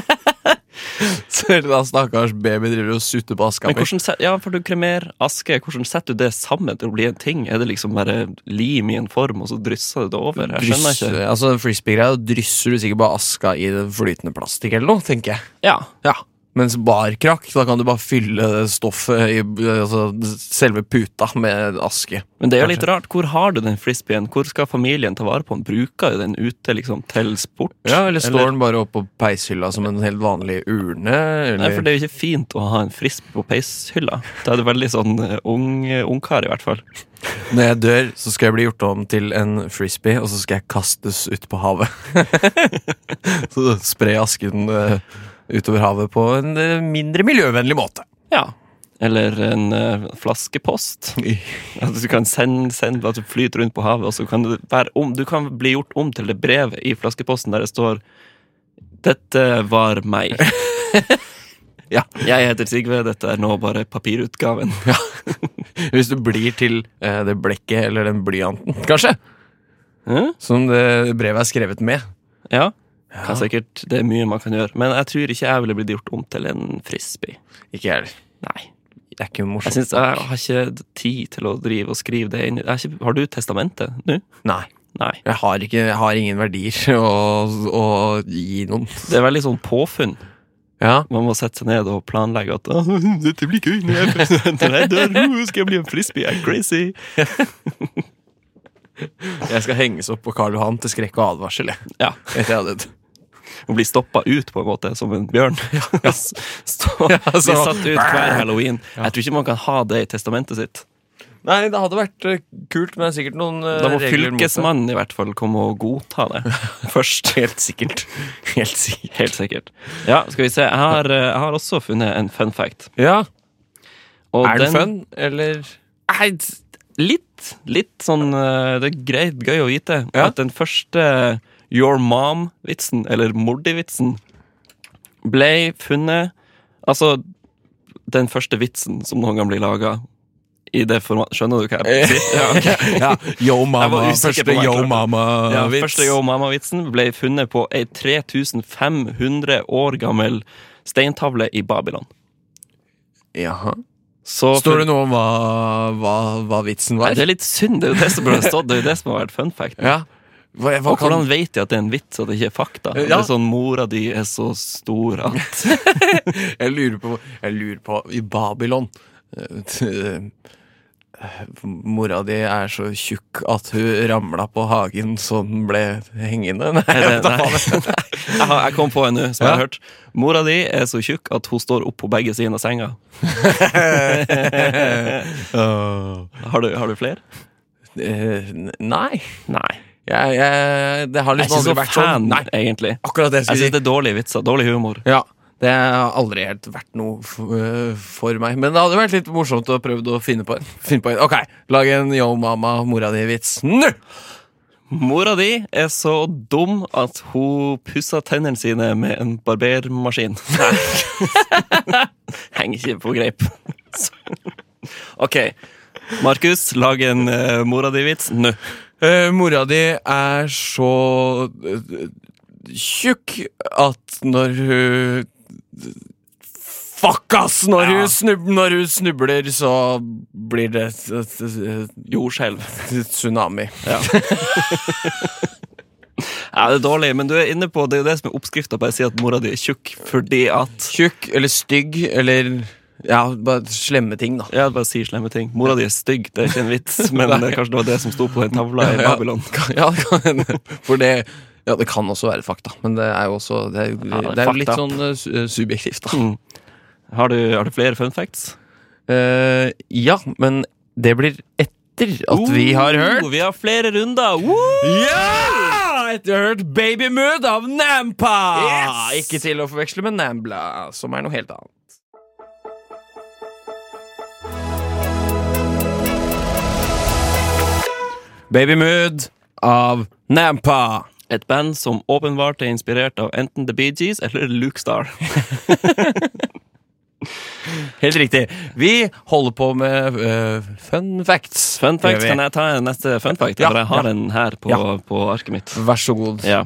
Speaker 2: Ser du da stakkars baby driver og sutter på aska
Speaker 3: Men
Speaker 2: mi.
Speaker 3: hvordan, set- ja, for du kremerer aske. Hvordan setter du det sammen til å bli en ting? Er det liksom bare lim i en form, og så drysser du det over? Jeg skjønner
Speaker 2: Dryss,
Speaker 3: ikke.
Speaker 2: altså Frisbee-greia drysser du sikkert bare aska i det flytende plastikk eller noe, tenker jeg.
Speaker 3: Ja.
Speaker 2: Ja. Mens barkrakk, da kan du bare fylle det stoffet i altså, selve puta med aske.
Speaker 3: Men det er jo litt rart. Hvor har du den frisbeen? Hvor skal familien ta vare på den? Bruker du den ute liksom til sport?
Speaker 2: Ja, Eller står den bare oppå peishylla som en helt vanlig urne? Eller?
Speaker 3: Nei, for det er jo ikke fint å ha en frisbee på peishylla. Da er du veldig sånn eh, ung eh, ungkar, i hvert fall.
Speaker 2: Når jeg dør, så skal jeg bli gjort om til en frisbee, og så skal jeg kastes ut på havet. så spre asken eh, utover havet på en eh, mindre miljøvennlig måte.
Speaker 3: Ja. Eller en eh, flaskepost. At du kan sende, sende at du flyter rundt på havet, og så kan du være om Du kan bli gjort om til det brevet i flaskeposten der det står 'Dette var meg'.
Speaker 2: Ja.
Speaker 3: Jeg heter Sigve, dette er nå bare papirutgaven.
Speaker 2: Hvis du blir til eh, det blekket eller den blyanten, kanskje,
Speaker 3: Hæ?
Speaker 2: som det brevet er skrevet med.
Speaker 3: Ja. Kan sikkert, det er mye man kan gjøre. Men jeg tror ikke jeg ville blitt gjort om til en frisbee.
Speaker 2: Ikke jeg heller.
Speaker 3: Nei.
Speaker 2: Det er ikke
Speaker 3: Jeg,
Speaker 2: morsomt.
Speaker 3: synes, jeg har ikke tid til å drive og skrive det inn. Jeg har, ikke, har du testamentet nå?
Speaker 2: Nei.
Speaker 3: Nei.
Speaker 2: Jeg har, ikke, jeg har ingen verdier å, å gi noen.
Speaker 3: Det er veldig sånn påfunn.
Speaker 2: Ja.
Speaker 3: Man må sette seg ned og planlegge at «Åh, dette blir gøy når jeg er president, når jeg dør, uh, skal jeg bli en frisbee, jeg er crazy.
Speaker 2: Jeg skal henges opp på Karl Johan til skrekk og advarsel. jeg.
Speaker 3: Ja,
Speaker 2: Etter jeg har dødd.
Speaker 3: og bli stoppa ut, på en måte, som en bjørn. Stå, bli
Speaker 2: så-
Speaker 3: satt ut hver halloween. Jeg tror ikke man kan ha det i testamentet sitt.
Speaker 2: Nei, det hadde vært eh, kult, men det er sikkert noen eh,
Speaker 3: Da må
Speaker 2: regler mot det.
Speaker 3: fylkesmannen i hvert fall komme og godta det først.
Speaker 2: Helt sikkert. Helt sikkert.
Speaker 3: Helt sikkert. Ja, skal vi se. Jeg har, eh, jeg har også funnet en fun fact.
Speaker 2: Ja.
Speaker 3: Og
Speaker 2: er den fun, eller
Speaker 3: Nei, s- litt. Litt sånn eh, Det er greit gøy å vite
Speaker 2: Ja.
Speaker 3: at den første Your Mom-vitsen, eller Mordi-vitsen, ble funnet Altså, den første vitsen som noen gang blir laga i det formatet Skjønner du hva jeg sier? Ja, ok.
Speaker 2: ja, Yo mama.
Speaker 3: Jeg var usikker på
Speaker 2: Første
Speaker 3: hva jeg
Speaker 2: yo
Speaker 3: klarte. Ja,
Speaker 2: mama-vits.
Speaker 3: første Yo Mama-vitsen ble funnet på ei 3500 år gammel steintavle i Babylon.
Speaker 2: Jaha.
Speaker 3: Så
Speaker 2: Står det noe om hva, hva, hva vitsen
Speaker 3: Nei,
Speaker 2: var?
Speaker 3: det er litt synd. Det er jo det som burde stått. Det er jo det som har vært fun fact.
Speaker 2: Ja. Hva, hva
Speaker 3: Og hvordan vet de at det er en vits, at det ikke er fakta?
Speaker 2: sånn- Ja.
Speaker 3: Det er sånn, Mora di er så stor at
Speaker 2: Jeg lurer på, jeg lurer på I Babylon eh, t- eh, Mora di er så tjukk at hun ramla på hagen så den ble hengende. Nei,
Speaker 3: Er det-
Speaker 2: jeg vet da
Speaker 3: nei.
Speaker 2: faen.
Speaker 3: Jeg har- Jeg kom på en nå, som jeg
Speaker 2: Ja.
Speaker 3: har hørt. Mora di er så tjukk at hun står opp på begge sider av senga. Har du, har du flere?
Speaker 2: Eh, n- nei.
Speaker 3: Nei.
Speaker 2: Jeg, jeg, det har
Speaker 3: Jeg er
Speaker 2: liksom
Speaker 3: ikke
Speaker 2: aldri
Speaker 3: så
Speaker 2: vært sånn.
Speaker 3: fan,
Speaker 2: Nei,
Speaker 3: egentlig.
Speaker 2: akkurat det jeg
Speaker 3: Jeg syns
Speaker 2: skulle si.
Speaker 3: det er dårlige vitser. Dårlig humor.
Speaker 2: Ja, det har aldri helt vært noe f- øh, for meg. Men det hadde vært litt morsomt å prøve å finne på en. Finne på en. Ok, lag en yo mama, mora di-vits nå!
Speaker 3: Mora di er så dum at hun pusser tennene sine med en barbermaskin. Nei. Henger ikke på greip. Så- OK. Markus, lag en eh, mora di-vits nå.
Speaker 2: Eh, mora di er så eh, tjukk at når hun Fuck, ass! Når, hun, snub, når hun snubler, så blir det s- s- s-
Speaker 3: Jordskjelv.
Speaker 2: tsunami.
Speaker 3: Ja, det er dårlig, men du er inne på det er jo det som er oppskrifta. Bare si at mora di er tjukk fordi at
Speaker 2: Tjukk eller stygg eller Ja, bare slemme ting, da.
Speaker 3: Ja, bare si slemme ting. Mora di er stygg, det er ikke en vits, men det er kanskje det var det som sto på den tavla i Babylon.
Speaker 2: Ja, det kan hende. For det ja, det kan også være fakta, men det er jo også Det er jo,
Speaker 3: Ja, det er
Speaker 2: det er jo litt
Speaker 3: fakta.
Speaker 2: sånn eh, su- eh, subjektivt, da.
Speaker 3: Mm. Har du, har du flere fun facts?
Speaker 2: Eh, ja, men det blir etter at vi har hørt
Speaker 3: Oh, Vi har flere runder! Uh! Woo!
Speaker 2: Ja! Etter å ha hørt Baby Mood av Nampa!
Speaker 3: Yes!
Speaker 2: Ikke til å forveksle med Nambla, som er noe helt annet. Baby Mood av Nampa.
Speaker 3: Et band som åpenbart er inspirert av enten The Bee Gees eller Luke Star.
Speaker 2: Helt riktig. Vi holder på med eh, fun facts.
Speaker 3: Fun fact,
Speaker 2: Gjør vi.
Speaker 3: kan jeg ta en neste fun fact?
Speaker 2: Ja,
Speaker 3: for jeg har
Speaker 2: ja.
Speaker 3: en her på,
Speaker 2: Ja.
Speaker 3: på arket mitt.
Speaker 2: Vær så god.
Speaker 3: Ja.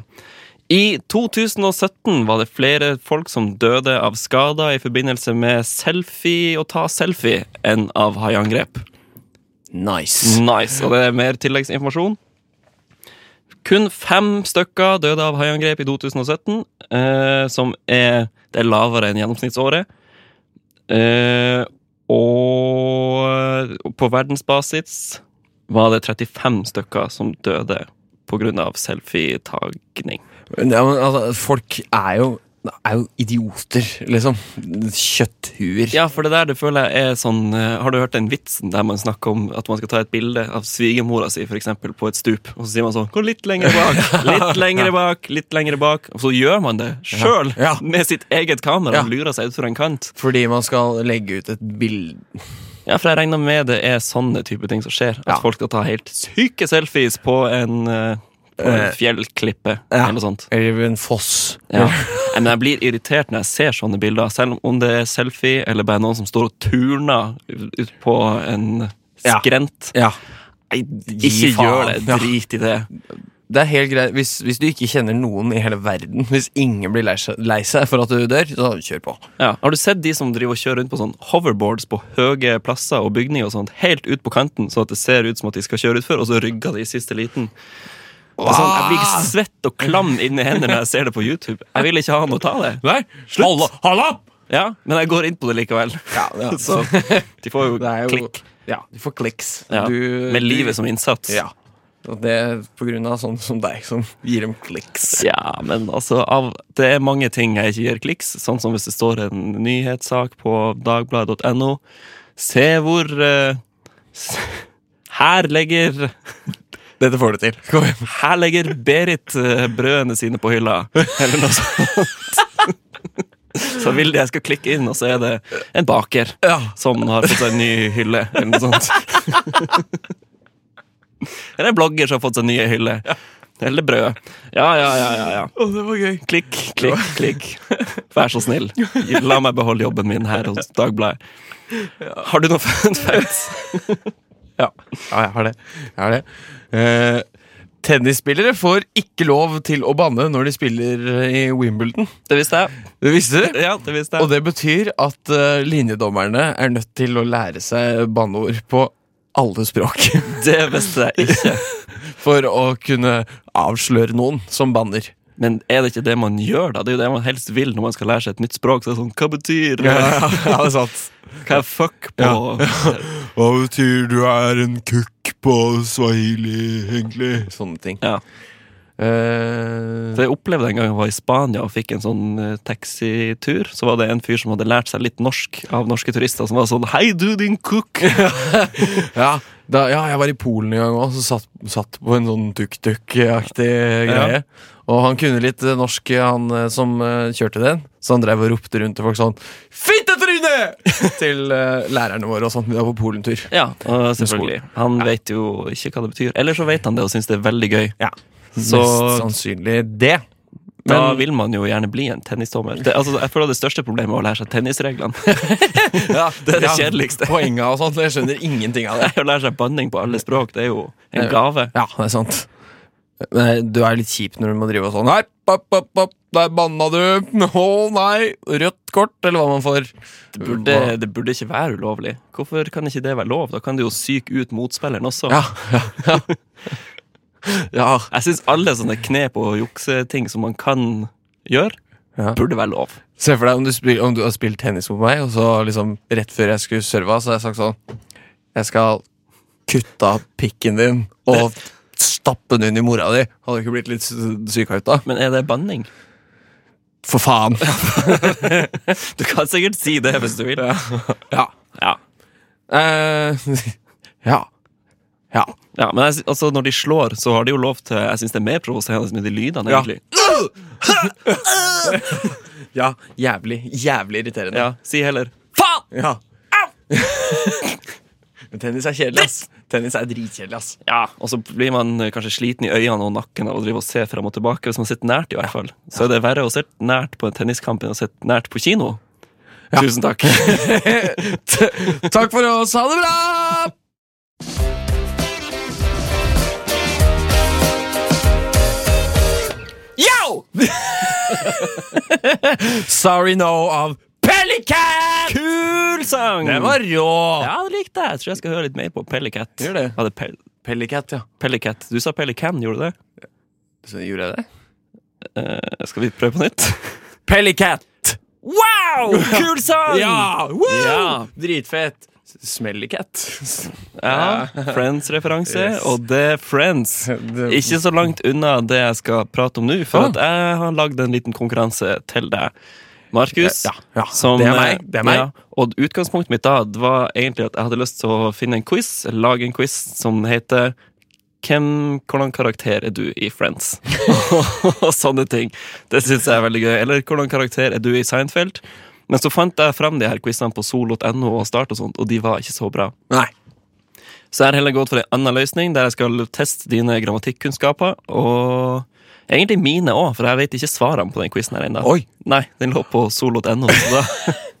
Speaker 3: I 2017 var det flere folk som døde av skader i forbindelse med selfie og ta selfie enn av haiangrep.
Speaker 2: Nice.
Speaker 3: Nice. Og det er mer tilleggsinformasjon. Kun fem stykker døde av haiangrep i 2017, eh, som er Det er lavere enn gjennomsnittsåret. Eh, og på verdensbasis var det 35 stykker som døde pga. selfietagning.
Speaker 2: Ja, men, altså, folk er jo, er jo idioter, liksom. Kjøtthuer.
Speaker 3: Ja, for det der det føler jeg er sånn eh, Har du hørt den vitsen der man snakker om at man skal ta et bilde av svigermora si for eksempel, på et stup, og så sier man sånn Gå litt lenger bak, litt lenger bak, litt lenger bak. Og så gjør man det sjøl,
Speaker 2: Ja.
Speaker 3: med sitt eget kamera,
Speaker 2: Ja.
Speaker 3: og lurer seg utfor en kant.
Speaker 2: Fordi man skal legge ut et bilde
Speaker 3: Ja, for jeg regner med det er sånne type ting som skjer. At
Speaker 2: Ja.
Speaker 3: folk skal ta helt syke selfies på en, eh, på en
Speaker 2: Eh,
Speaker 3: fjellklippe
Speaker 2: ja.
Speaker 3: eller noe sånt.
Speaker 2: Eller en foss.
Speaker 3: Ja. Nei, Men jeg blir irritert når jeg ser sånne bilder, selv om det er selfie eller bare noen som står og turner ut på en
Speaker 2: Ja.
Speaker 3: skrent.
Speaker 2: Ja.
Speaker 3: Nei, ikke
Speaker 2: faen.
Speaker 3: gjør det.
Speaker 2: Ja.
Speaker 3: Drit i det.
Speaker 2: det er helt greit hvis, hvis du ikke kjenner noen i hele verden, hvis ingen blir lei seg, lei seg for at du dør, så kjør på.
Speaker 3: Ja. Har du sett de som driver og kjører rundt på sånn hoverboards på høye plasser og bygninger og sånt, helt ut på kanten, sånn at det ser ut som at de skal kjøre utfor, og så rygger de i siste liten? Det er Sånn, jeg blir svett og klam inni hendene når jeg ser det på YouTube. Jeg vil ikke ha noe av det.
Speaker 2: Nei, slutt! Halla!
Speaker 3: Ja, Men jeg går inn på det likevel.
Speaker 2: Ja, ja.
Speaker 3: Så de får jo
Speaker 2: Det er jo
Speaker 3: klikk
Speaker 2: Ja, du får kliks.
Speaker 3: ja.
Speaker 2: Du-
Speaker 3: med livet
Speaker 2: du-
Speaker 3: som innsats.
Speaker 2: Ja. Og det er på grunn av sånne som deg, som gir dem kliks.
Speaker 3: Ja, men altså av, Det er mange ting jeg ikke gir kliks, sånn som hvis det står en nyhetssak på dagbladet.no. Se hvor eh, s- her legger,
Speaker 2: Dette får du til. Kom igjen.
Speaker 3: her legger Berit eh, brødene sine på hylla, eller noe sånt. Så vil de jeg skal klikke inn, og så er det en baker
Speaker 2: Ja.
Speaker 3: som har fått seg en ny hylle, eller noe sånt. Eller en blogger som har fått seg nye hylle. Eller brød. Ja, ja, ja, ja, ja.
Speaker 2: Å, det var gøy.
Speaker 3: Klikk, klikk, klikk. Vær så snill, la meg beholde jobben min her hos Dagbladet. Har du noen fun facts?
Speaker 2: Ja, ja jeg har det. Jeg har det. Eh, tennisspillere får ikke lov til å banne når de spiller i Wimbledon.
Speaker 3: Det visste jeg.
Speaker 2: Det visste du?
Speaker 3: Ja, det visste
Speaker 2: Og
Speaker 3: jeg.
Speaker 2: det betyr at eh, linjedommerne er nødt til å lære seg banneord på alle språk
Speaker 3: Det visste jeg ikke.
Speaker 2: for å kunne avsløre noen som banner.
Speaker 3: Men er det ikke det man gjør, da? Det er jo det man helst vil når man skal lære seg et nytt språk. Så er det sånn, Hva betyr
Speaker 2: Ja, det er sant.
Speaker 3: Hva er fuck på
Speaker 1: Hva betyr du er en kukk på swahili, egentlig?
Speaker 2: Sånne ting.
Speaker 3: Ja.
Speaker 2: Eh,
Speaker 3: Så jeg opplevde en gang jeg var i Spania og fikk en sånn eh, taxitur. Så var det en fyr som hadde lært seg litt norsk av norske turister, som var sånn Hei, du, din cook!
Speaker 2: Ja, da, ja, jeg var i Polen en gang òg, så satt, satt på en sånn tuk-tuk-aktig greie. Og han kunne litt eh, norsk, han eh, som eh, kjørte den. Så han drev og ropte rundt til folk sånn Fittetryne! til eh, lærerne våre og sånn. Vi var på polentur.
Speaker 3: Ja, og selvfølgelig. Han vet jo ikke hva det betyr. Eller så vet han det og syns det er veldig gøy.
Speaker 2: Ja.
Speaker 3: Så
Speaker 2: Mest sannsynlig det.
Speaker 3: sånn- da
Speaker 2: Men-
Speaker 3: vil man jo gjerne bli en tennisdommer. Det, altså, jeg føler det største problemet er å lære seg tennisreglene. det er det kjedeligste.
Speaker 2: Poenga og sånt. Jeg skjønner ingenting av det.
Speaker 3: Å lære seg banning på alle språk, det er jo en gave.
Speaker 2: Ja, det er sant. Nei, Du er litt kjip når du må drive og sånn Nei, papp, papp, papp, der banna du! Å nei! Rødt kort, eller hva man får.
Speaker 3: Det burde, det burde ikke være ulovlig. Hvorfor kan ikke det være lov? Da kan du jo psyke ut motspilleren også.
Speaker 2: Ja, ja, ja. ja.
Speaker 3: Jeg syns alle sånne knep og jukseting som man kan gjøre,
Speaker 2: Ja.
Speaker 3: burde være lov.
Speaker 2: Se for deg om du, spil, om du har spilt tennis mot meg, og så liksom rett før jeg skulle serve, så har jeg sagt sånn Jeg skal kutte av pikken din og stappe den inn i mora di. Hadde du ikke blitt litt syka ut da?
Speaker 3: Men er det banning?
Speaker 2: For faen!
Speaker 3: Du kan sikkert si det hvis du vil.
Speaker 2: Ja.
Speaker 3: Ja.
Speaker 2: Eh, ja. Ja.
Speaker 3: Ja, men jeg, sy- altså når de slår, så har de jo lov til Jeg syns det er mer provoserende med de lydene,
Speaker 2: Ja.
Speaker 3: egentlig.
Speaker 2: Ja, jævlig, jævlig irriterende.
Speaker 3: Ja, Si heller faen!
Speaker 2: Ja. Men tennis er kjedelig, ass. Tennis er dritkjedelig, ass.
Speaker 3: Ja, Og så blir man eh, kanskje sliten i øynene og nakken av å drive og se frem og tilbake. Hvis man sitter nært, i hvert fall. Så er det verre å sitte nært på en tenniskamp enn å sitte nært på kino. Tusen takk.
Speaker 2: Takk for oss, ha det bra! Yo! Sorry no av Pelican!
Speaker 3: Kul sang!
Speaker 2: Den var rå!
Speaker 3: Ja, det likte jeg. Jeg tror jeg skal høre litt mer på Pellicat.
Speaker 2: Gjør det.
Speaker 3: Var det Pel
Speaker 2: Pelicat, ja.
Speaker 3: Pellicat? Du sa Pelican, gjorde du det?
Speaker 2: Så gjorde jeg det?
Speaker 3: Eh, skal vi prøve på nytt?
Speaker 2: Pelicat!
Speaker 3: Wow! Kul sang!
Speaker 2: Ja! Woo!
Speaker 3: Ja.
Speaker 2: Dritfett. Smellycat.
Speaker 3: Ja, Friends-referanse,
Speaker 2: Yes.
Speaker 3: og det er Friends. Ikke så langt unna det jeg skal prate om nå,
Speaker 2: Ah.
Speaker 3: for at jeg har lagd en liten konkurranse til deg. Markus,
Speaker 2: Ja, ja,
Speaker 3: som-
Speaker 2: det er meg, det er meg.
Speaker 3: Ja, og utgangspunktet mitt da det var egentlig at jeg hadde lyst til å finne en quiz, eller lage en quiz som heter hvem, hvordan karakter er du i Friends? Og sånne ting. Det syns jeg er veldig gøy. Eller hvordan karakter er du i Seinfeld? Men så fant jeg frem de her quizene på sol.no og Start og sånt, og de var ikke så bra.
Speaker 2: Nei.
Speaker 3: Så jeg har heller gått for en annen løsning, der jeg skal teste dine grammatikkunnskaper. Og egentlig mine òg, for jeg vet ikke svarene på den quizen her ennå.
Speaker 2: Oi.
Speaker 3: Nei, den lå på solo.no, så da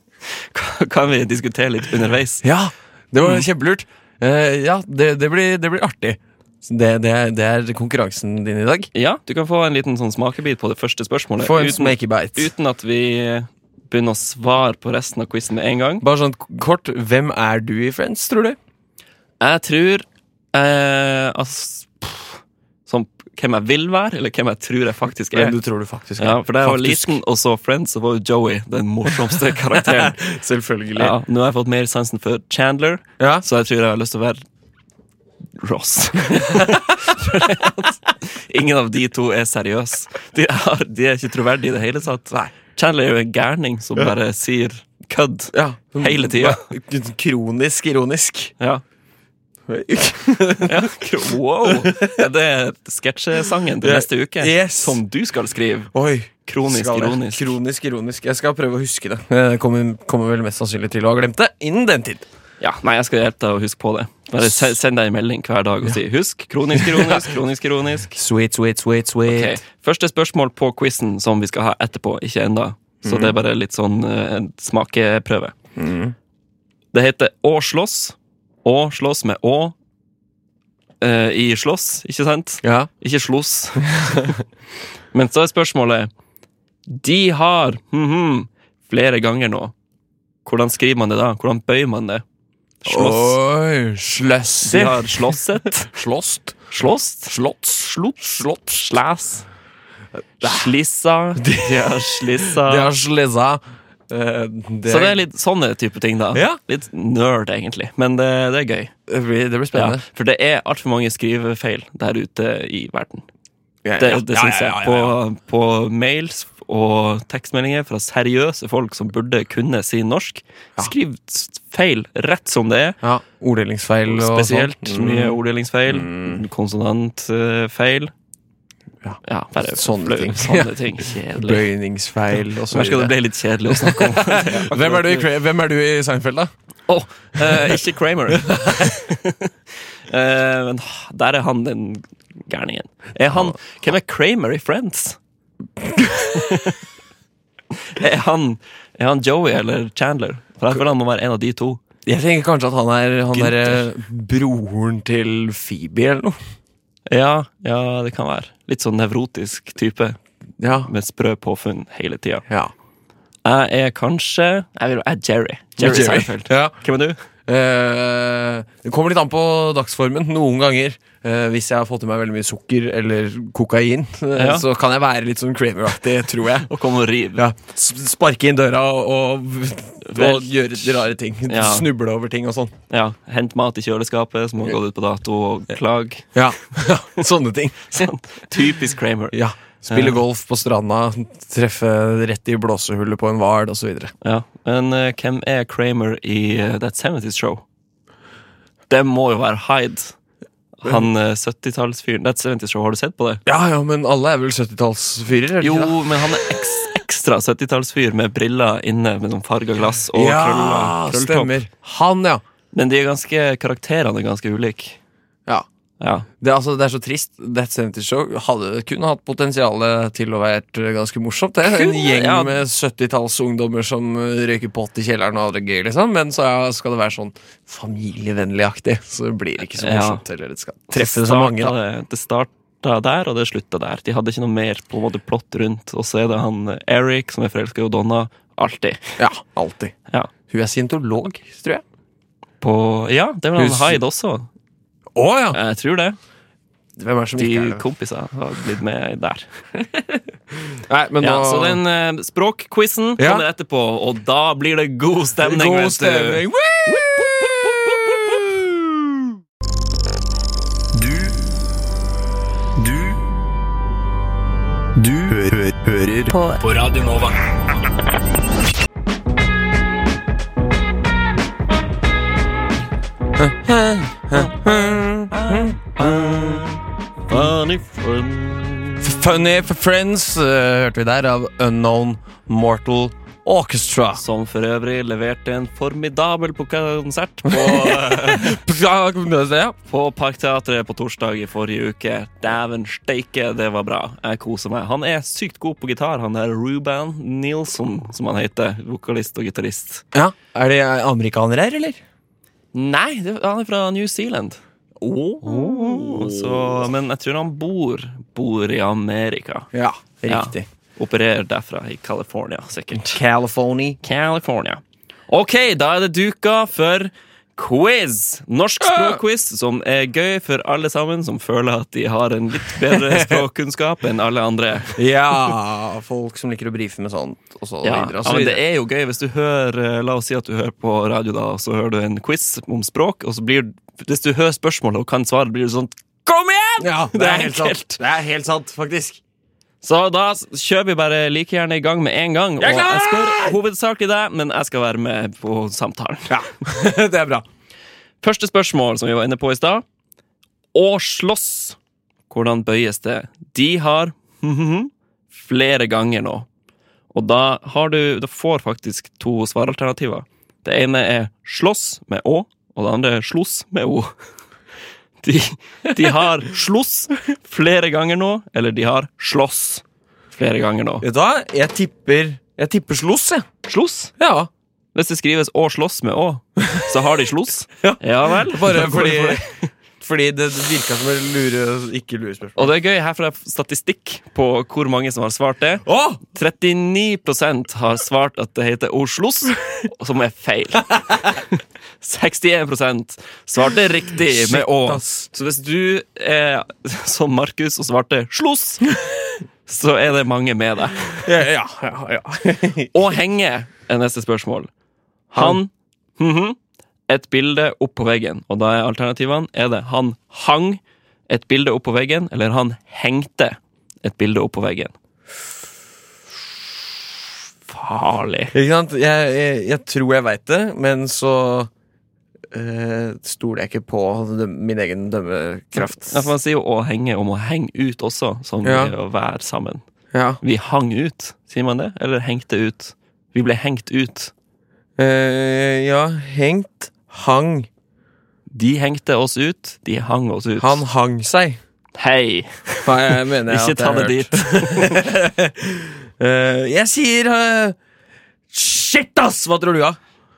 Speaker 3: kan vi diskutere litt underveis.
Speaker 2: Ja, det var kjempelurt. Eh, ja, det, det, blir, det blir artig. Så Det, det, er, det er konkurransen din i dag.
Speaker 3: Ja, du kan få en liten sånn smakebit på det første spørsmålet.
Speaker 2: Få en
Speaker 3: uten,
Speaker 2: smakebite.
Speaker 3: uten at vi begynner å svare på resten av quizen med en gang.
Speaker 2: Bare sånn kort, hvem er du i Friends, tror du?
Speaker 3: Jeg tror eh, ass, pff, Som hvem jeg vil være, eller hvem jeg tror jeg faktisk er.
Speaker 2: Hvem du tror du faktisk
Speaker 3: Ja,
Speaker 2: er.
Speaker 3: for Da jeg var
Speaker 2: Faktisk.
Speaker 3: liten og så Friends, så var jo Joey den morsomste karakteren.
Speaker 2: Selvfølgelig.
Speaker 3: ja, nå har jeg fått mer sansen for Chandler,
Speaker 2: Ja.
Speaker 3: så jeg tror jeg har lyst til å være Ross. For at ingen av de to er seriøse. De, har, de er ikke troverdige i det hele tatt. Chandler er jo en gærning som bare sier kødd
Speaker 2: Ja. Sånn
Speaker 3: hele tida.
Speaker 2: Kronisk ironisk.
Speaker 3: Ja. Ja, kro- wow! Ja, Det er sketsjesangen til
Speaker 2: Ja,
Speaker 3: neste uke,
Speaker 2: yes.
Speaker 3: som du skal skrive.
Speaker 2: Oi.
Speaker 3: Kronisk
Speaker 2: skal jeg.
Speaker 3: ironisk.
Speaker 2: Kronisk ironisk. Jeg skal prøve å huske det. Jeg kommer, kommer vel mest sannsynlig til å ha glemt det innen den tid.
Speaker 3: Ja, nei, jeg skal hjelpe deg å huske på det. Bare se- Send deg en melding hver dag og si 'husk'. Kronisk, ironisk, kronisk, ironisk.
Speaker 2: Sweet, sweet, sweet, sweet.
Speaker 3: Ok, Første spørsmål på quizen som vi skal ha etterpå, ikke enda. Så det er bare litt sånn eh, en smakeprøve. Det heter Å slåss. Å slåss med Å eh, i slåss, ikke sant?
Speaker 2: Ja.
Speaker 3: Ikke slåss. Men så er spørsmålet De har mhm, flere ganger nå. Hvordan skriver man det da? Hvordan bøyer man det? Slåss.
Speaker 2: Oi, sløss.
Speaker 3: De har slåsset.
Speaker 2: Slåst.
Speaker 3: Slåst. Slåtts. Slått. Slått. Slæs. Slissa. De har slissa.
Speaker 2: Det er slissa. Eh, det,
Speaker 3: Så det er litt sånne type ting, da.
Speaker 2: Ja.
Speaker 3: Litt nerd, egentlig. Men det, det er gøy.
Speaker 2: det blir, det blir
Speaker 3: Ja,
Speaker 2: spennende.
Speaker 3: for det er altfor mange skrivefeil der ute i verden.
Speaker 2: Ja.
Speaker 3: Det, det syns
Speaker 2: ja,
Speaker 3: jeg.
Speaker 2: ja, ja, ja.
Speaker 3: På, på mails og tekstmeldinger fra seriøse folk som burde kunne si norsk, skriv s- feil rett som det er.
Speaker 2: Ja, Orddelingsfeil og sånn. Mm.
Speaker 3: Spesielt mye orddelingsfeil, konsonantfeil.
Speaker 2: Ja.
Speaker 3: Ja, bare
Speaker 2: Sånne
Speaker 3: flau-
Speaker 2: ting.
Speaker 3: Sånne ting. Kjedelig.
Speaker 2: Bøyningsfeil og så
Speaker 3: Nå skal det bli litt kjedelig å snakke om.
Speaker 2: Hvem er, du i, Cra- hvem er du i Seinfeld, da?
Speaker 3: Åh, eh, ikke Kramer. Eh, men der er han den gærningen. Er han Hvem er Kramer i Friends? er, han, er han Joey eller Chandler? For jeg føler han må være en av de to.
Speaker 2: Jeg tenker kanskje at han er han derre broren til Phoebe eller noe.
Speaker 3: Ja, ja, det kan være. Litt sånn nevrotisk type
Speaker 2: Ja.
Speaker 3: med sprø påfunn hele tida.
Speaker 2: ja.
Speaker 3: Jeg er kanskje Jeg, vil, jeg er Jerry. Jerry, Seinfeld.
Speaker 2: Ja.
Speaker 3: Hvem er du?
Speaker 2: Eh, det kommer litt an på dagsformen. Noen ganger, eh, hvis jeg har fått i meg veldig mye sukker eller kokain, eh,
Speaker 3: Ja.
Speaker 2: så kan jeg være litt sånn Kramer-aktig, tror jeg.
Speaker 3: Og kom og riv.
Speaker 2: Ja, s- Sparke inn døra og, og,
Speaker 3: Vel.
Speaker 2: og gjøre rare ting.
Speaker 3: Ja.
Speaker 2: Snuble over ting og sånn.
Speaker 3: Ja, Hent mat i kjøleskapet som har gått ut på dato, og klag.
Speaker 2: Ja, Sånne ting.
Speaker 3: Sånn. Typisk Kramer.
Speaker 2: Ja. Spille golf på stranda, treffe rett i blåsehullet på en hval osv.
Speaker 3: Ja. Men eh, hvem er Kramer i eh, That 70's Show? Det må jo være Hyde. Han eh, 70-tallsfyren. That 70's Show, har du sett på det?
Speaker 2: Ja, ja, men alle er vel 70-tallsfyrer? er det
Speaker 3: Jo,
Speaker 2: ikke det?
Speaker 3: men han er eks ekstra 70-tallsfyr med briller inne med noen farga glass og
Speaker 2: ja,
Speaker 3: krøller- krølltopp.
Speaker 2: stemmer. Han, ja.
Speaker 3: Men de er ganske, karakterene er ganske ulike.
Speaker 2: ja.
Speaker 3: Ja.
Speaker 2: Det, er altså, det er så trist. That 70 Show hadde kunne hatt potensial til å være eh, ganske morsomt. Det. En
Speaker 3: Kunne,
Speaker 2: gjeng
Speaker 3: ja.
Speaker 2: med 70-tallsungdommer som eh, røyker pott i kjelleren og har det gøy, liksom. Men så ja, skal det være sånn familievennlig-aktig. Så det blir ikke så
Speaker 3: Ja.
Speaker 2: morsomt heller. Det skal treffe så mange, da.
Speaker 3: starta Det, det starta der, og det slutta der. De hadde ikke noe mer på en måte plott rundt. Og så er det han eh, Eric som er forelska i Donna. Alltid.
Speaker 2: Ja, alltid.
Speaker 3: Ja.
Speaker 2: Hun er scientolog, tror jeg.
Speaker 3: På, ja, det var han
Speaker 2: Hus-
Speaker 3: Hyde også.
Speaker 2: Å ja!
Speaker 3: Jeg tror det.
Speaker 2: Hvem er det som
Speaker 3: De
Speaker 2: ikke er det?
Speaker 3: kompisene har blitt med der.
Speaker 2: Nei, men
Speaker 3: Ja,
Speaker 2: nå-
Speaker 3: så den eh, språkquizen
Speaker 2: Ja.
Speaker 3: kommer etterpå, og da blir det god stemning.
Speaker 2: God
Speaker 3: vet du.
Speaker 2: stemning! Woo!
Speaker 5: Du Du Du hø hø hører på. på Radio Nova.
Speaker 3: Funny friend.
Speaker 2: Funny for Friends eh, hørte vi der av Unknown Mortal Orchestra.
Speaker 3: Som for øvrig leverte en formidabel konsert på,
Speaker 2: Ja.
Speaker 3: på Parkteatret på torsdag i forrige uke. Dæven steike, det var bra. Jeg koser meg. Han er sykt god på gitar, han der Ruban Nilsson, som han heter. Vokalist og gitarist.
Speaker 2: Er det amerikanere her, eller?
Speaker 3: Nei, det, han er fra New Zealand. Og Så, men jeg tror han bor, bor i Amerika.
Speaker 2: Ja, riktig.
Speaker 3: Ja. Opererer derfra, i California, sikkert.
Speaker 2: California.
Speaker 3: California. Ok, da er det duka for quiz. Norsk språkquiz, som er gøy for alle sammen som føler at de har en litt bedre språkkunnskap enn alle andre.
Speaker 2: Ja, folk som liker å brife med sånt, og så
Speaker 3: Ja,
Speaker 2: videre.
Speaker 3: ja,
Speaker 2: Og så
Speaker 3: men det
Speaker 2: videre.
Speaker 3: er jo gøy hvis du hører eh, La oss si at du hører på radio, da, og så hører du en quiz om språk, og så blir Hvis du hører spørsmålet og kan svaret, blir du sånn Kom igjen!
Speaker 2: ja, det,
Speaker 3: Det
Speaker 2: er
Speaker 3: er
Speaker 2: helt sant.
Speaker 3: enkelt.
Speaker 2: Det er helt sant, faktisk.
Speaker 3: Så da s- kjører vi bare like gjerne i gang med en gang.
Speaker 2: Jeg er
Speaker 3: Og
Speaker 2: klar!
Speaker 3: jeg spør hovedsakelig deg, men jeg skal være med på samtalen.
Speaker 2: Ja, Det er bra.
Speaker 3: Første spørsmål som vi var inne på i stad. Å slåss. Hvordan bøyes det? De har flere ganger nå. Og da har du Da får faktisk to svaralternativer. Det ene er slåss med å, og det andre er sloss med o. De, de har sloss flere ganger nå, eller de har slåss flere ganger nå.
Speaker 2: Vet du hva? Jeg tipper Jeg tipper sloss, jeg.
Speaker 3: Sloss?
Speaker 2: Ja.
Speaker 3: Hvis det skrives å slåss med å, så har de sloss.
Speaker 2: Ja.
Speaker 3: ja vel.
Speaker 2: Bare
Speaker 3: Da går
Speaker 2: fordi
Speaker 3: det for det.
Speaker 2: Fordi det virka som et lure, ikke lure spørsmål.
Speaker 3: Og det er gøy, her får jeg statistikk på hvor mange som har svart det.
Speaker 2: Å!
Speaker 3: 39 har svart at det heter Oslos, som er feil. 61 svarte riktig med Å.
Speaker 2: ass.
Speaker 3: Så hvis du er som Markus og svarte Slos, så er det mange med deg.
Speaker 2: Ja, ja, ja, ja.
Speaker 3: Å henge er neste spørsmål. Han mhm, Et bilde opp på veggen. Og da er alternativene er det han hang et bilde opp på veggen, eller han hengte et bilde opp på veggen. Farlig.
Speaker 2: Ikke sant? Jeg, jeg, jeg tror jeg veit det, men så eh, stoler jeg ikke på døm- min egen dømmekraft.
Speaker 3: Ja, for man sier jo å henge om å henge ut også, som
Speaker 2: Ja.
Speaker 3: i å være sammen.
Speaker 2: Ja.
Speaker 3: Vi hang ut, sier man det? Eller hengte ut? Vi ble hengt ut.
Speaker 2: Eh, ja, hengt. Hang.
Speaker 3: De hengte oss ut, de hang oss ut.
Speaker 2: Han hang seg.
Speaker 3: Hei!
Speaker 2: Hva jeg mener jeg at
Speaker 3: Ikke
Speaker 2: jeg
Speaker 3: ta
Speaker 2: har hørt.
Speaker 3: det dit.
Speaker 2: Eh, jeg sier eh, Shit, ass! Hva tror du, da?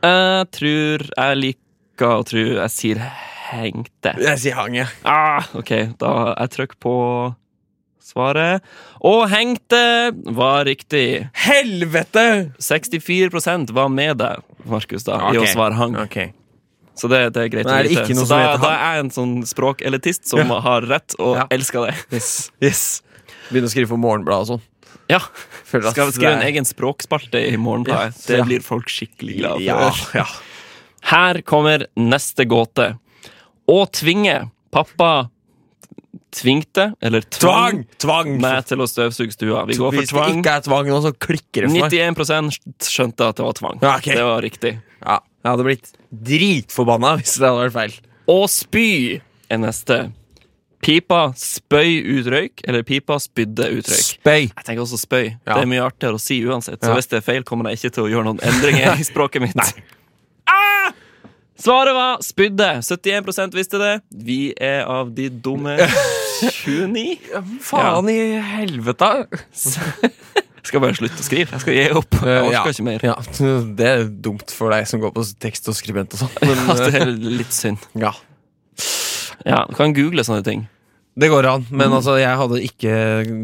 Speaker 3: Jeg tror jeg liker å tro jeg sier hengte.
Speaker 2: Jeg sier hang, jeg.
Speaker 3: Ah, ok, da jeg trykker på svaret. Og hengte var riktig.
Speaker 2: Helvete!
Speaker 3: 64 var med deg, Markus, da, i å
Speaker 2: Ok.
Speaker 3: svare hang.
Speaker 2: Ok.
Speaker 3: Så det, det er greit
Speaker 2: Da er
Speaker 3: å
Speaker 2: det
Speaker 3: vite.
Speaker 2: ikke noe
Speaker 3: Så
Speaker 2: som
Speaker 3: da,
Speaker 2: heter
Speaker 3: da er jeg en sånn språkelitist som
Speaker 2: Ja.
Speaker 3: har rett, og
Speaker 2: Ja.
Speaker 3: elsker det.
Speaker 2: Yes. yes. Begynne å skrive for Morgenbladet og sånn.
Speaker 3: Ja,
Speaker 2: Føler at
Speaker 3: Skal vi
Speaker 2: det
Speaker 3: skrive en
Speaker 2: er-
Speaker 3: egen språkspalte i Morgenbladet?
Speaker 2: Ja.
Speaker 3: Det blir folk skikkelig glad for.
Speaker 2: Ja, ja.
Speaker 3: Her kommer neste gåte. Å tvinge pappa tvingte, eller tvang,
Speaker 2: Tvang! Tvang!
Speaker 3: meg til å støvsuge stua. Vi går for
Speaker 2: Hvis det
Speaker 3: tvang.
Speaker 2: ikke er tvang nå, så klikker det for meg.
Speaker 3: 91 skjønte at det var tvang.
Speaker 2: Ja, ok.
Speaker 3: Det var riktig.
Speaker 2: Ja, jeg hadde blitt dritforbanna hvis det hadde vært feil.
Speaker 3: Å spy er neste. Pipa spøy ut røyk, eller pipa spydde ut røyk.
Speaker 2: Spøy.
Speaker 3: Jeg tenker også spøy.
Speaker 2: Ja.
Speaker 3: Det er mye artigere å si uansett. Så
Speaker 2: Ja.
Speaker 3: hvis det er feil, kommer jeg ikke til å gjøre noen endringer i språket mitt. Ah! Svaret var spydde. 71 visste det. Vi er av de dumme 29.
Speaker 2: Faen i helvete!
Speaker 3: Jeg skal bare slutte å skrive. Jeg skal gi opp. Jeg orker ikke mer.
Speaker 2: Eh, Ja, det er dumt for deg som går på tekst og skribent og sånn,
Speaker 3: Ja,
Speaker 2: men
Speaker 3: det er litt synd.
Speaker 2: ja.
Speaker 3: Ja, Du kan google sånne ting.
Speaker 2: Det går an, men altså, jeg hadde ikke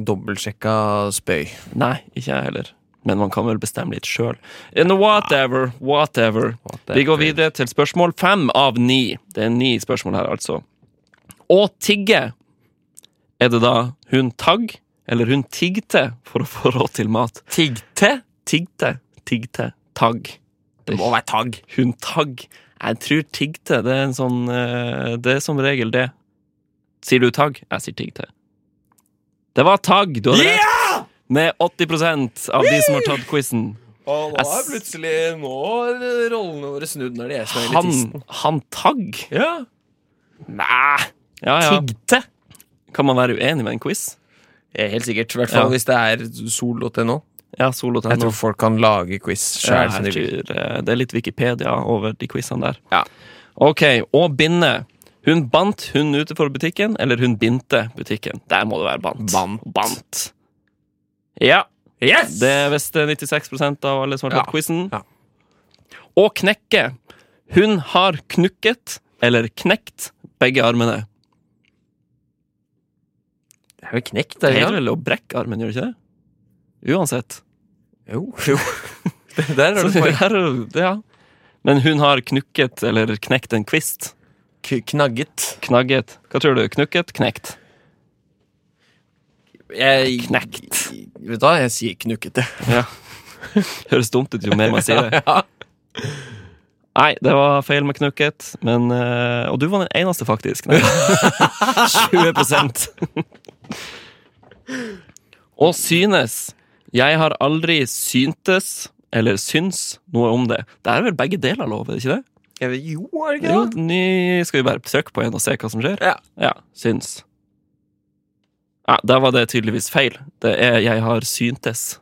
Speaker 2: dobbeltsjekka spøy.
Speaker 3: Nei, ikke jeg heller. Men man kan vel bestemme litt sjøl. Whatever, whatever. Vi går videre til spørsmål fem av ni. Det er ni spørsmål her, altså. Å tigge. Er det da hun tagg, eller hun tiggte for å få råd til mat? Tiggte? Tiggte. Tiggte. Tagg.
Speaker 2: Det må være tagg.
Speaker 3: Hun tagg. Jeg tror tiggte. Det er en sånn eh, Det er som regel det. Sier du tagg? Jeg sier tiggte. Det var tagg! Du hadde rett. Med 80 av de som har tatt quizen.
Speaker 2: Og
Speaker 3: nå er
Speaker 2: plutselig nå rollene våre snudd når det er
Speaker 3: Han, han tagg?
Speaker 2: Ja.
Speaker 3: Nei. Ja, ja.
Speaker 2: Tiggte.
Speaker 3: Kan man være uenig med en quiz?
Speaker 2: Helt sikkert. I hvert fall
Speaker 3: Ja.
Speaker 2: hvis det er sol.no.
Speaker 3: Ja, solo
Speaker 2: Jeg tror folk kan lage quiz sjæl.
Speaker 3: jeg tror, eh, det er litt Wikipedia over de quizene der.
Speaker 2: Ja.
Speaker 3: Ok, og binde. Hun bandt hun utenfor butikken, eller hun bindte butikken. Der må det være bandt.
Speaker 2: Bandt.
Speaker 3: Bandt. Ja,
Speaker 2: Yes!
Speaker 3: det visste 96 av alle som har tatt
Speaker 2: Ja.
Speaker 3: quizen.
Speaker 2: Ja.
Speaker 3: Å knekke. Hun har knukket, eller knekt, begge armene.
Speaker 2: Det er jo knekt,
Speaker 3: Det
Speaker 2: er det
Speaker 3: er
Speaker 2: ikke?
Speaker 3: vel å brekke armen, gjør det ikke det? Uansett.
Speaker 2: Jo. jo. Der har
Speaker 3: Så
Speaker 2: du
Speaker 3: det
Speaker 2: poeng.
Speaker 3: her er- ja. Men hun har knukket, eller knekt en kvist.
Speaker 2: K- Knagget.
Speaker 3: Knagget. Hva tror du? Knukket? Knekt?
Speaker 2: Jeg,
Speaker 3: Knekt.
Speaker 2: Vet du hva, jeg sier knukkete.
Speaker 3: Ja. Høres dumt ut jo mer man sier det.
Speaker 2: Ja.
Speaker 3: Nei, det var feil med knukket, men eh, Og du var den eneste, faktisk. Nei. 20 Og synes. Jeg har aldri syntes eller syns noe om det. Det er vel begge deler lov, er det ikke det?
Speaker 2: Jeg vet, jo, er det ikke
Speaker 3: Jo,
Speaker 2: det?
Speaker 3: ny, skal vi bare søke på en og se hva som skjer?
Speaker 2: Ja.
Speaker 3: syns. Ja, der var det tydeligvis feil. Det er 'jeg har syntes'.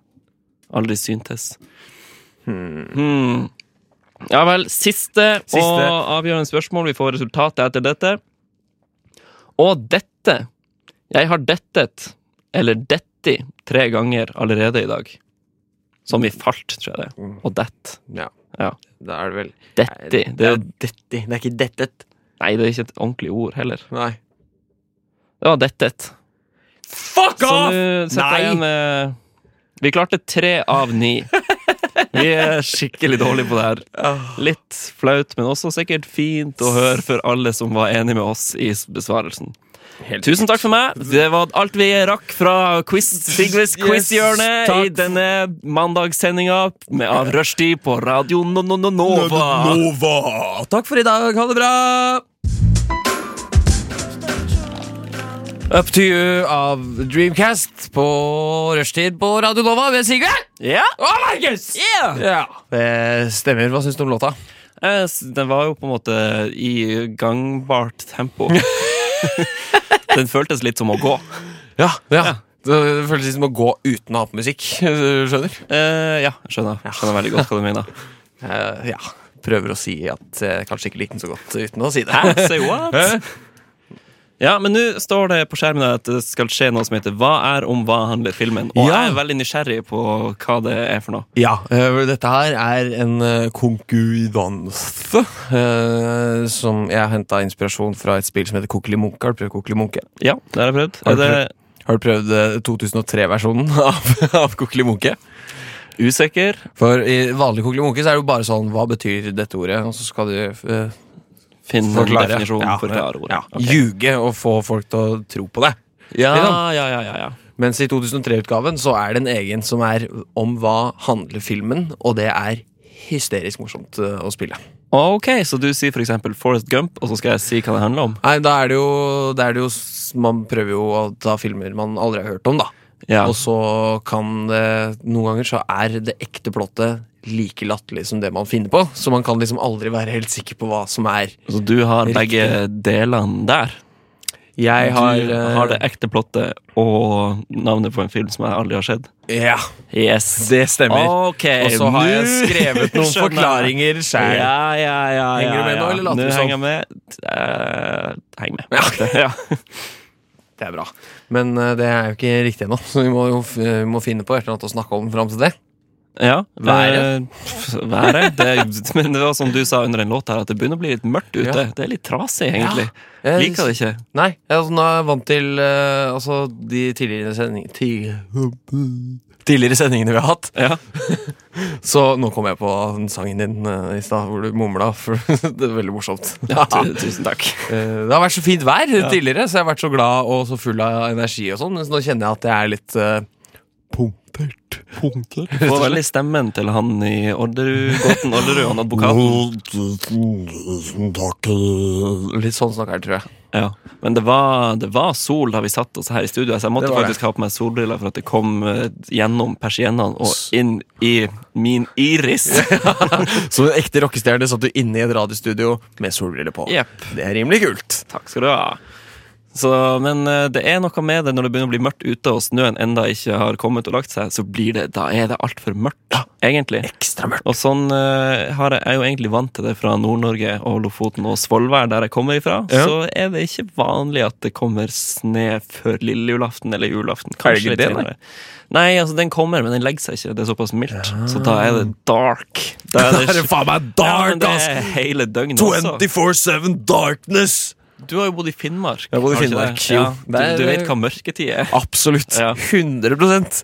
Speaker 3: Aldri syntes. Hmm. Ja vel. Siste,
Speaker 2: Siste.
Speaker 3: og avgjørende spørsmål. Vi får resultatet etter dette. Og dette. Jeg har dettet, eller detti, tre ganger allerede i dag. Som i falt, tror jeg det. Og dett.
Speaker 2: Ja.
Speaker 3: Ja.
Speaker 2: Da er det vel
Speaker 3: Detti. Mm. Det
Speaker 2: Det
Speaker 3: er,
Speaker 2: er detti. Det er ikke dettet.
Speaker 3: nei, det er ikke et ordentlig ord heller.
Speaker 2: Nei.
Speaker 3: Det var dettet.
Speaker 2: Fuck
Speaker 3: Så
Speaker 2: off!
Speaker 3: nå setter
Speaker 2: Nei!
Speaker 3: jeg igjen eh, Vi klarte tre av ni. Vi er skikkelig dårlige på det her. Litt flaut, men også sikkert fint å høre for alle som var enig med oss i besvarelsen.
Speaker 2: Helt
Speaker 3: Tusen takk for meg. Det var alt vi rakk fra quiz, Sigves quiz-hjørne
Speaker 2: Yes, takk.
Speaker 3: i denne mandagssendinga med- av Rushdie på Radio no no no Nova.
Speaker 2: Nova. Takk for i dag. Ha det bra! Up to you av Dreamcast på rushtid på Radio Nova ved Sigve.
Speaker 3: Ja,
Speaker 2: Og Markus! Ja. Det stemmer. Hva syns du om låta?
Speaker 3: Eh, s- Den var jo på en måte i gangbart tempo. Den føltes litt som å gå.
Speaker 2: Ja, Det føles litt som å gå uten å ha på musikk. Du skjønner?
Speaker 3: Eh, ja, skjønner. Skjønner veldig godt hva du mener.
Speaker 2: Eh, ja. Prøver å si at jeg kanskje ikke likte den så godt uten å si det.
Speaker 3: Hæ? Say what? Eh? Ja, men nå står det på skjermen her at det skal skje noe som heter Hva er om hva handler filmen? Og
Speaker 2: Ja.
Speaker 3: jeg er veldig nysgjerrig på hva det er for noe.
Speaker 2: Ja, eh, dette her er en eh, konkurranse eh, som jeg har henta inspirasjon fra et spill som heter Kokkeli Munke. Har du prøvd Kokkeli Munke?
Speaker 3: Ja, det har jeg prøvd.
Speaker 2: Har
Speaker 3: Er
Speaker 2: du
Speaker 3: det
Speaker 2: Har du prøvd eh, 2003-versjonen av, av Kokkeli Munke?
Speaker 3: usikker?
Speaker 2: For i vanlig Kokkeli Munke så er det jo bare sånn Hva betyr dette ordet? Og så skal du eh,
Speaker 3: Finn en
Speaker 2: forklare.
Speaker 3: definisjon.
Speaker 2: Ja,
Speaker 3: Forklare ordet.
Speaker 2: ja. ljuge og få folk til å tro på det.
Speaker 3: Ja,
Speaker 2: Liksom.
Speaker 3: ja, ja, ja, ja.
Speaker 2: Mens i 2003-utgaven så er det en egen som er om hva handler filmen, og det er hysterisk morsomt eh, å spille.
Speaker 3: Ok, så du sier for eksempel Forrest Gump, og så skal jeg si hva det handler om?
Speaker 2: Nei, da er det jo, da er det jo s- Man prøver jo å ta filmer man aldri har hørt om, da.
Speaker 3: Ja.
Speaker 2: Og så kan det Noen ganger så er det ekte plottet like latterlig som det man finner på. Så man kan liksom aldri være helt sikker på hva som er.
Speaker 3: Så du har
Speaker 2: Riktig.
Speaker 3: begge delene der?
Speaker 2: Jeg har,
Speaker 3: du
Speaker 2: eh,
Speaker 3: har det ekte plottet og navnet på en film som jeg aldri har sett?
Speaker 2: Ja,
Speaker 3: Yes.
Speaker 2: det stemmer.
Speaker 3: Ok,
Speaker 2: Og så har jeg
Speaker 3: nå
Speaker 2: skrevet noen
Speaker 3: skjønner jeg.
Speaker 2: forklaringer sjæl.
Speaker 3: Ja, ja, ja, ja,
Speaker 2: Henger du med nå,
Speaker 3: ja.
Speaker 2: eller later du som?
Speaker 3: Nå henger jeg med. Eh, heng med. Ja.
Speaker 2: Det er bra. Men eh, det er jo ikke riktig ennå, så vi må jo f vi må finne på et eller annet å snakke om fram til det.
Speaker 3: ja.
Speaker 2: Været.
Speaker 3: eh, pff, Været. Det, er- men det var som du sa under en låt her, at det begynner å bli litt mørkt ute.
Speaker 2: Ja.
Speaker 3: Det er litt trasig, egentlig.
Speaker 2: Jeg
Speaker 3: Liker det ikke.
Speaker 2: Nei, altså, nå er jeg vant til eh, altså, de tidligere sendingene Tidligere sendingene vi har hatt.
Speaker 3: Ja.
Speaker 2: Så nå kom jeg på den sangen din eh, i stad hvor du mumla, for det er veldig morsomt.
Speaker 3: Tu- Tusen takk.
Speaker 2: Eh, det har vært så fint vær tidligere, så jeg har vært så glad og så full av energi og sånn, mens nå kjenner jeg at jeg er litt eh, punktert.
Speaker 3: Du får veldig stemmen til han i Orderud, Gåten Orderud, han advokaten.
Speaker 1: Jo, tusen, tusen takk.
Speaker 2: Litt sånn snakker jeg, tror jeg.
Speaker 3: Ja. Men det var, det var sol da vi satt oss her i studio, så jeg måtte
Speaker 2: Det var det.
Speaker 3: faktisk ha på meg solbriller for at det kom eh, gjennom persiennene og inn i min iris.
Speaker 2: Som en ekte rockestjerne satt du inne i et radiostudio med solbriller på.
Speaker 3: Jepp.
Speaker 2: Det er rimelig kult.
Speaker 3: Takk skal du ha. Så, men eh, det er noe med det når det begynner å bli mørkt ute, og snøen enda ikke har kommet og lagt seg, så blir det, da er det altfor mørkt, egentlig.
Speaker 2: Ekstra mørkt.
Speaker 3: Og sånn eh, har jeg, jeg er jo egentlig vant til det fra Nord-Norge og Lofoten og Svolvær, der jeg kommer ifra.
Speaker 2: Ja.
Speaker 3: Så er det ikke vanlig at det kommer snø før lille julaften eller julaften. Kanskje
Speaker 2: ikke
Speaker 3: litt
Speaker 2: det, nei?
Speaker 3: senere. Nei, altså den kommer, men den legger seg ikke. Det er såpass mildt. Så da er det dark. Da
Speaker 2: Det Ah. er faen meg
Speaker 3: ja, men
Speaker 2: dark,
Speaker 3: det
Speaker 2: ass!
Speaker 3: er hele døgnet også.
Speaker 2: 24-7 darkness!
Speaker 3: Du har jo bodd i Finnmark.
Speaker 2: Jeg har bodd i
Speaker 3: har du ikke
Speaker 2: Finnmark,
Speaker 3: det?
Speaker 2: jo.
Speaker 3: Ja. Du,
Speaker 2: Det er-
Speaker 3: du vet hva mørketid er.
Speaker 2: Absolutt.
Speaker 3: Ja.
Speaker 2: 100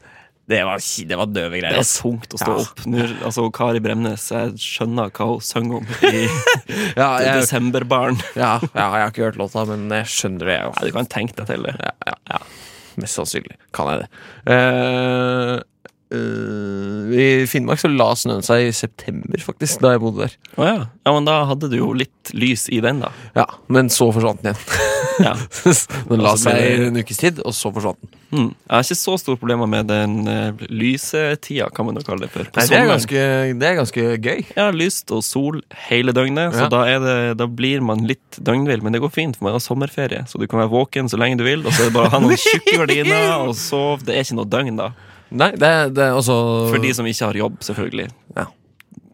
Speaker 6: Det var, ki- det var døve
Speaker 3: Det
Speaker 6: greier.
Speaker 3: er
Speaker 6: ass.
Speaker 3: tungt å stå opp. Nå, altså, Kari Bremnes, jeg skjønner hva hun synger om i
Speaker 2: Ja, jeg,
Speaker 3: Desemberbarn.
Speaker 2: ja, ja, jeg har ikke hørt låta, men jeg skjønner det, jeg
Speaker 3: Nei, du kan tenke deg til det.
Speaker 2: Ja, ja, ja. Mest sannsynlig kan jeg det. Eh, eh, I Finnmark så la snøen seg i september, faktisk, da jeg bodde der.
Speaker 3: Å ja. ja, men da hadde du jo litt lys i den, da.
Speaker 2: Ja, Men så forsvant den igjen.
Speaker 3: Ja.
Speaker 2: den la
Speaker 3: Og så ble
Speaker 2: seg i
Speaker 3: det-
Speaker 2: en ukes tid, og så forsvant den.
Speaker 3: Mm. Jeg har ikke så store problemer med den eh, lysetida, kan man jo kalle det for. På
Speaker 2: Nei, det, er
Speaker 3: sommeren.
Speaker 2: ganske, det er ganske gøy.
Speaker 3: Ja, lyst og sol hele døgnet,
Speaker 2: Ja.
Speaker 3: så da, er det, da blir man litt døgnvill. Men det går fint, for man har sommerferie, så du kan være våken så lenge du vil. Og så er det bare å ha noen tjukke gardiner og sove. Det er ikke noe døgn, da.
Speaker 2: Nei, det, er- det er altså- også
Speaker 3: For de som ikke har jobb, selvfølgelig.
Speaker 2: Ja.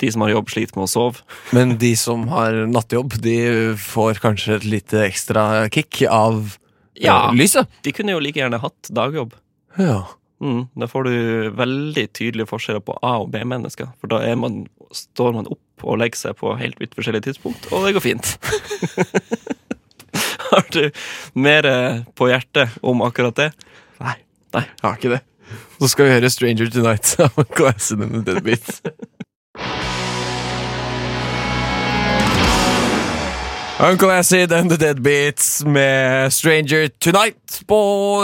Speaker 3: De som har jobb, sliter med å sove.
Speaker 2: Men de som har nattjobb, de får kanskje et lite ekstra kick av eh,
Speaker 3: Ja.
Speaker 2: lyset.
Speaker 3: De kunne jo like gjerne hatt dagjobb.
Speaker 2: Ja.
Speaker 3: Mm, da får du veldig tydelige forskjeller på A- og B-mennesker. For da er man, står man opp og legger seg på helt vidt forskjellige tidspunkt, og det går fint. har du mer eh, på hjertet om akkurat det?
Speaker 2: Nei.
Speaker 3: Nei.
Speaker 2: Jeg har ikke det. Så skal vi høre 'Stranger Tonight' av KS in the Deadbeat. Uncle Acid and The Deadbeats med Stranger Tonight på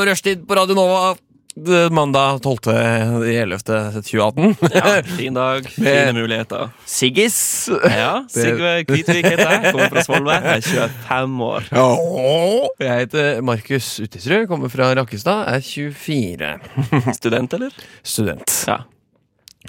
Speaker 2: rushtid på Radio Nova. Det er Mandag 12.11.2018.
Speaker 3: Ja, fin dag, fine muligheter.
Speaker 6: Siggis.
Speaker 3: Ja, Sigve Kvitvik heter jeg, kommer fra Svolvær, jeg er 25 år.
Speaker 2: Jeg heter Markus Utisrud, kommer fra Rakkestad, er 24.
Speaker 3: Student, eller?
Speaker 2: Student.
Speaker 3: Ja.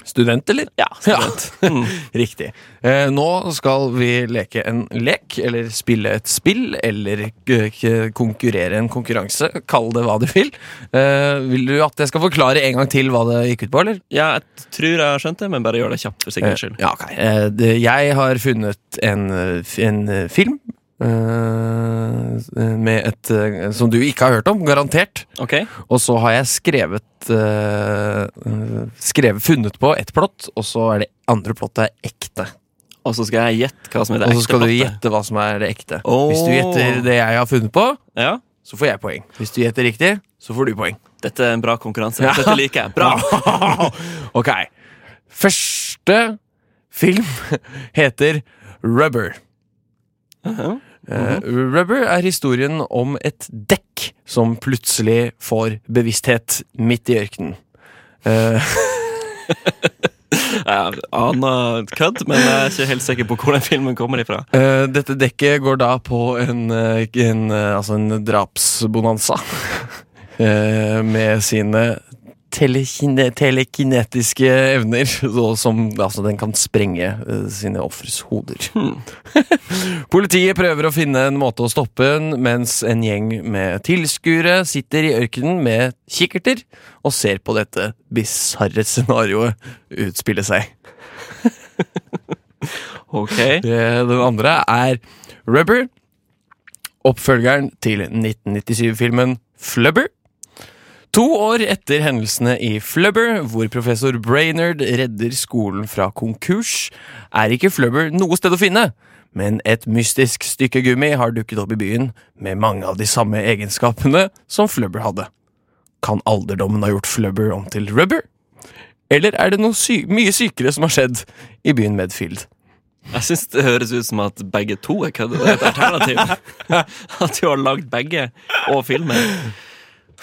Speaker 2: Student, eller?
Speaker 3: ja student. Mm.
Speaker 2: Riktig. Eh, nå skal vi leke en lek, eller spille et spill, eller k- k- konkurrere en konkurranse. Kall det hva du vil. Eh, vil du at jeg skal forklare en gang til hva det gikk ut på, eller?
Speaker 3: ja, jeg tror jeg har skjønt det, men bare gjør det kjapt for sikkerhets skyld.
Speaker 2: Eh, ja, ok. Eh, det, jeg har funnet en, eh, f- en eh, film. eh, med et eh, som du ikke har hørt om, garantert.
Speaker 3: Ok,
Speaker 2: Og så har jeg skrevet, eh, eh, skrevet Funnet på ett plott, og så er det andre plottet er ekte.
Speaker 3: og så skal jeg gjette hva som er det
Speaker 2: Og så skal du
Speaker 3: plottet.
Speaker 2: gjette hva som er det ekte.
Speaker 3: Åh.
Speaker 2: Hvis du gjetter det jeg har funnet på,
Speaker 3: Ja,
Speaker 2: så får jeg poeng. Hvis du gjetter riktig, så får du poeng.
Speaker 3: dette er en bra konkurranse.
Speaker 2: Ja.
Speaker 3: Dette liker jeg. Bra!
Speaker 2: ok. Første film heter Rubber.
Speaker 3: Mhm.
Speaker 2: Eh, Rubber er historien om et dekk som plutselig får bevissthet midt i ørkenen. Eh,
Speaker 3: Jeg aner kødd, men jeg er ikke helt sikker på hvor den filmen kommer ifra.
Speaker 2: eh, dette dekket går da på en, eh, en, eh, altså en drapsbonanza eh, med sine telekine, telekinetiske evner, så, som altså, den kan sprenge eh, sine ofres hoder. Politiet prøver å finne en måte å stoppe den, mens en gjeng med tilskuere sitter i ørkenen med kikkerter og ser på dette bisarre scenarioet utspille seg.
Speaker 3: Ok,
Speaker 2: Det, den andre er Rubber. Oppfølgeren til 1997-filmen Flubber. To år etter hendelsene i Flubber, hvor professor Brainerd redder skolen fra konkurs, er ikke Flubber noe sted å finne. Men et mystisk stykke gummi har dukket opp i byen med mange av de samme egenskapene som Flubber hadde. Kan alderdommen ha gjort Flubber om til Rubber? Eller er det noe sy mye sykere som har skjedd i byen Medfield?
Speaker 3: Jeg syns det høres ut som at begge to er kødd. Det er et alternativ. At du har lagd begge, og filmen.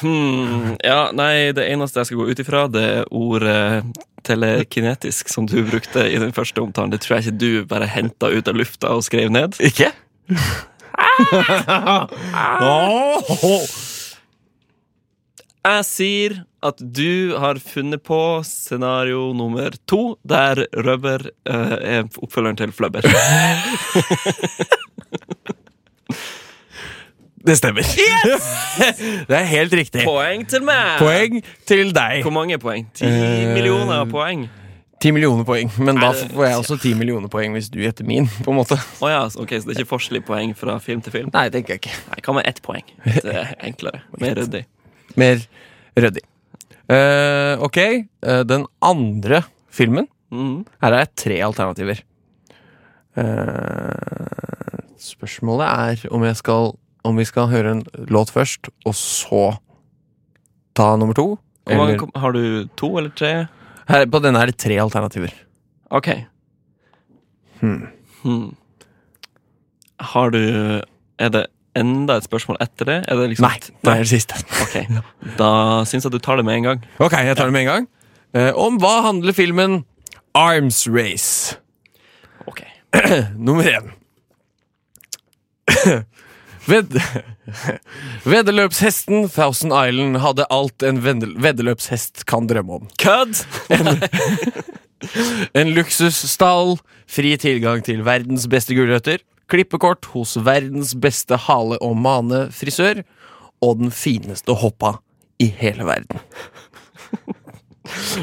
Speaker 3: Hmm, ja, nei, det eneste jeg skal gå ut ifra, det er ordet telekinetisk, som du brukte i den første omtalen. Det tror jeg ikke du bare henta ut av lufta og skrev ned.
Speaker 2: Ikke?
Speaker 3: Jeg sier at du har funnet på scenario nummer to, der rubber eh, er oppfølgeren til flubber.
Speaker 2: Det stemmer. det er helt riktig.
Speaker 3: Poeng til meg!
Speaker 2: Poeng til deg.
Speaker 3: Hvor mange poeng? Ti millioner poeng?
Speaker 2: Ti millioner poeng. Men da
Speaker 3: Nei, det-
Speaker 2: får jeg også ti millioner poeng hvis du gjetter min. på en måte
Speaker 3: Å ja, så- ok, så det er ikke forskjell i poeng fra film til film?
Speaker 2: Nei, tenker jeg ikke.
Speaker 3: Nei, hva med ett poeng? Det er enklere. Mer ryddig.
Speaker 2: Mer ryddig. Eh, ok, eh, den andre filmen
Speaker 3: Mhm.
Speaker 2: Her er det tre alternativer. Eh, spørsmålet er om jeg skal om vi skal høre en låt først, og så ta nummer to.
Speaker 3: Hvor mange,
Speaker 2: Eller,
Speaker 3: kom- har du to eller tre?
Speaker 2: her, på denne er det tre alternativer.
Speaker 3: Ok.
Speaker 2: Hmm.
Speaker 3: Hmm. Har du Er det enda et spørsmål etter det? Er det liksom
Speaker 2: Nei, det er det siste.
Speaker 3: Ok. Da syns jeg du tar det med en gang.
Speaker 2: Ok, jeg tar det med en gang. Eh, om hva handler filmen Arms Race?
Speaker 3: Ok.
Speaker 2: Nummer én. Ved Veddeløpshesten Thousand Island hadde alt en vendel- veddeløpshest kan drømme om.
Speaker 3: Kødd!
Speaker 2: En luksusstall, fri tilgang til verdens beste gulrøtter, klippekort hos verdens beste hale- og manefrisør, og den fineste hoppa i hele verden.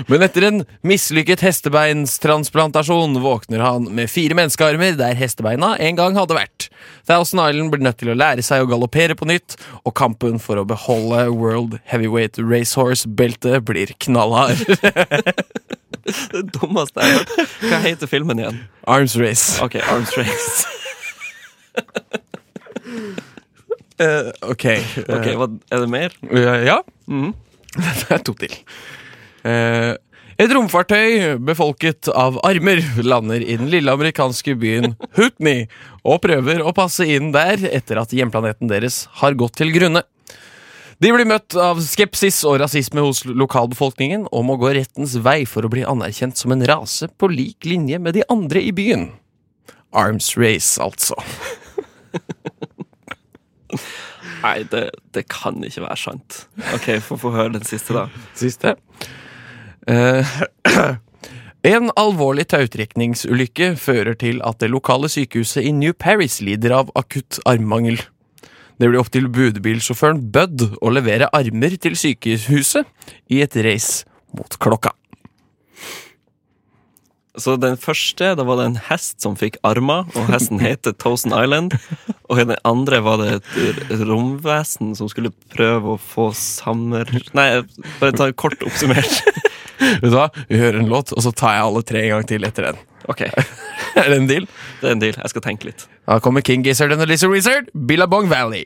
Speaker 2: Men etter en mislykket hestebeinstransplantasjon våkner han med fire menneskearmer der hestebeina en gang hadde vært. Thousand Island blir nødt til å lære seg å galoppere på nytt, og kampen for å beholde World Heavyweight Racehorse-beltet blir knallhard.
Speaker 3: Det dummeste jeg har hørt. Hva heter filmen igjen?
Speaker 2: Arms Race.
Speaker 3: Ok, Arms Race.
Speaker 2: Ok.
Speaker 3: Ok, hva, Er det mer?
Speaker 2: Eh, ja. Det er to til. Eh, et romfartøy befolket av armer lander i den lille amerikanske byen Hootney og prøver å passe inn der etter at hjemplaneten deres har gått til grunne. De blir møtt av skepsis og rasisme hos lokalbefolkningen og må gå rettens vei for å bli anerkjent som en rase på lik linje med de andre i byen. Arms race, altså.
Speaker 3: Nei, det, det kan ikke være sant. Ok, Få få høre den siste, da.
Speaker 2: Siste. Eh, en alvorlig tautrekningsulykke fører til at det lokale sykehuset i New Paris lider av akutt armmangel. Det blir opp til budbilsjåføren Bud å levere armer til sykehuset i et race mot klokka.
Speaker 3: Så den første, da var det en hest som fikk armer, og hesten heter Thousand Island. Og i den andre var det et r- romvesen som skulle prøve å få sammer... Nei, bare ta kort oppsummert.
Speaker 2: Vet du hva? Vi hører en låt, og så tar jeg alle tre en gang til etter den.
Speaker 3: Ok,
Speaker 2: Er det en deal?
Speaker 3: det er en deal. Jeg skal tenke litt.
Speaker 2: Da kommer King Gizzard and the Lizard Wizard, Billabong Valley.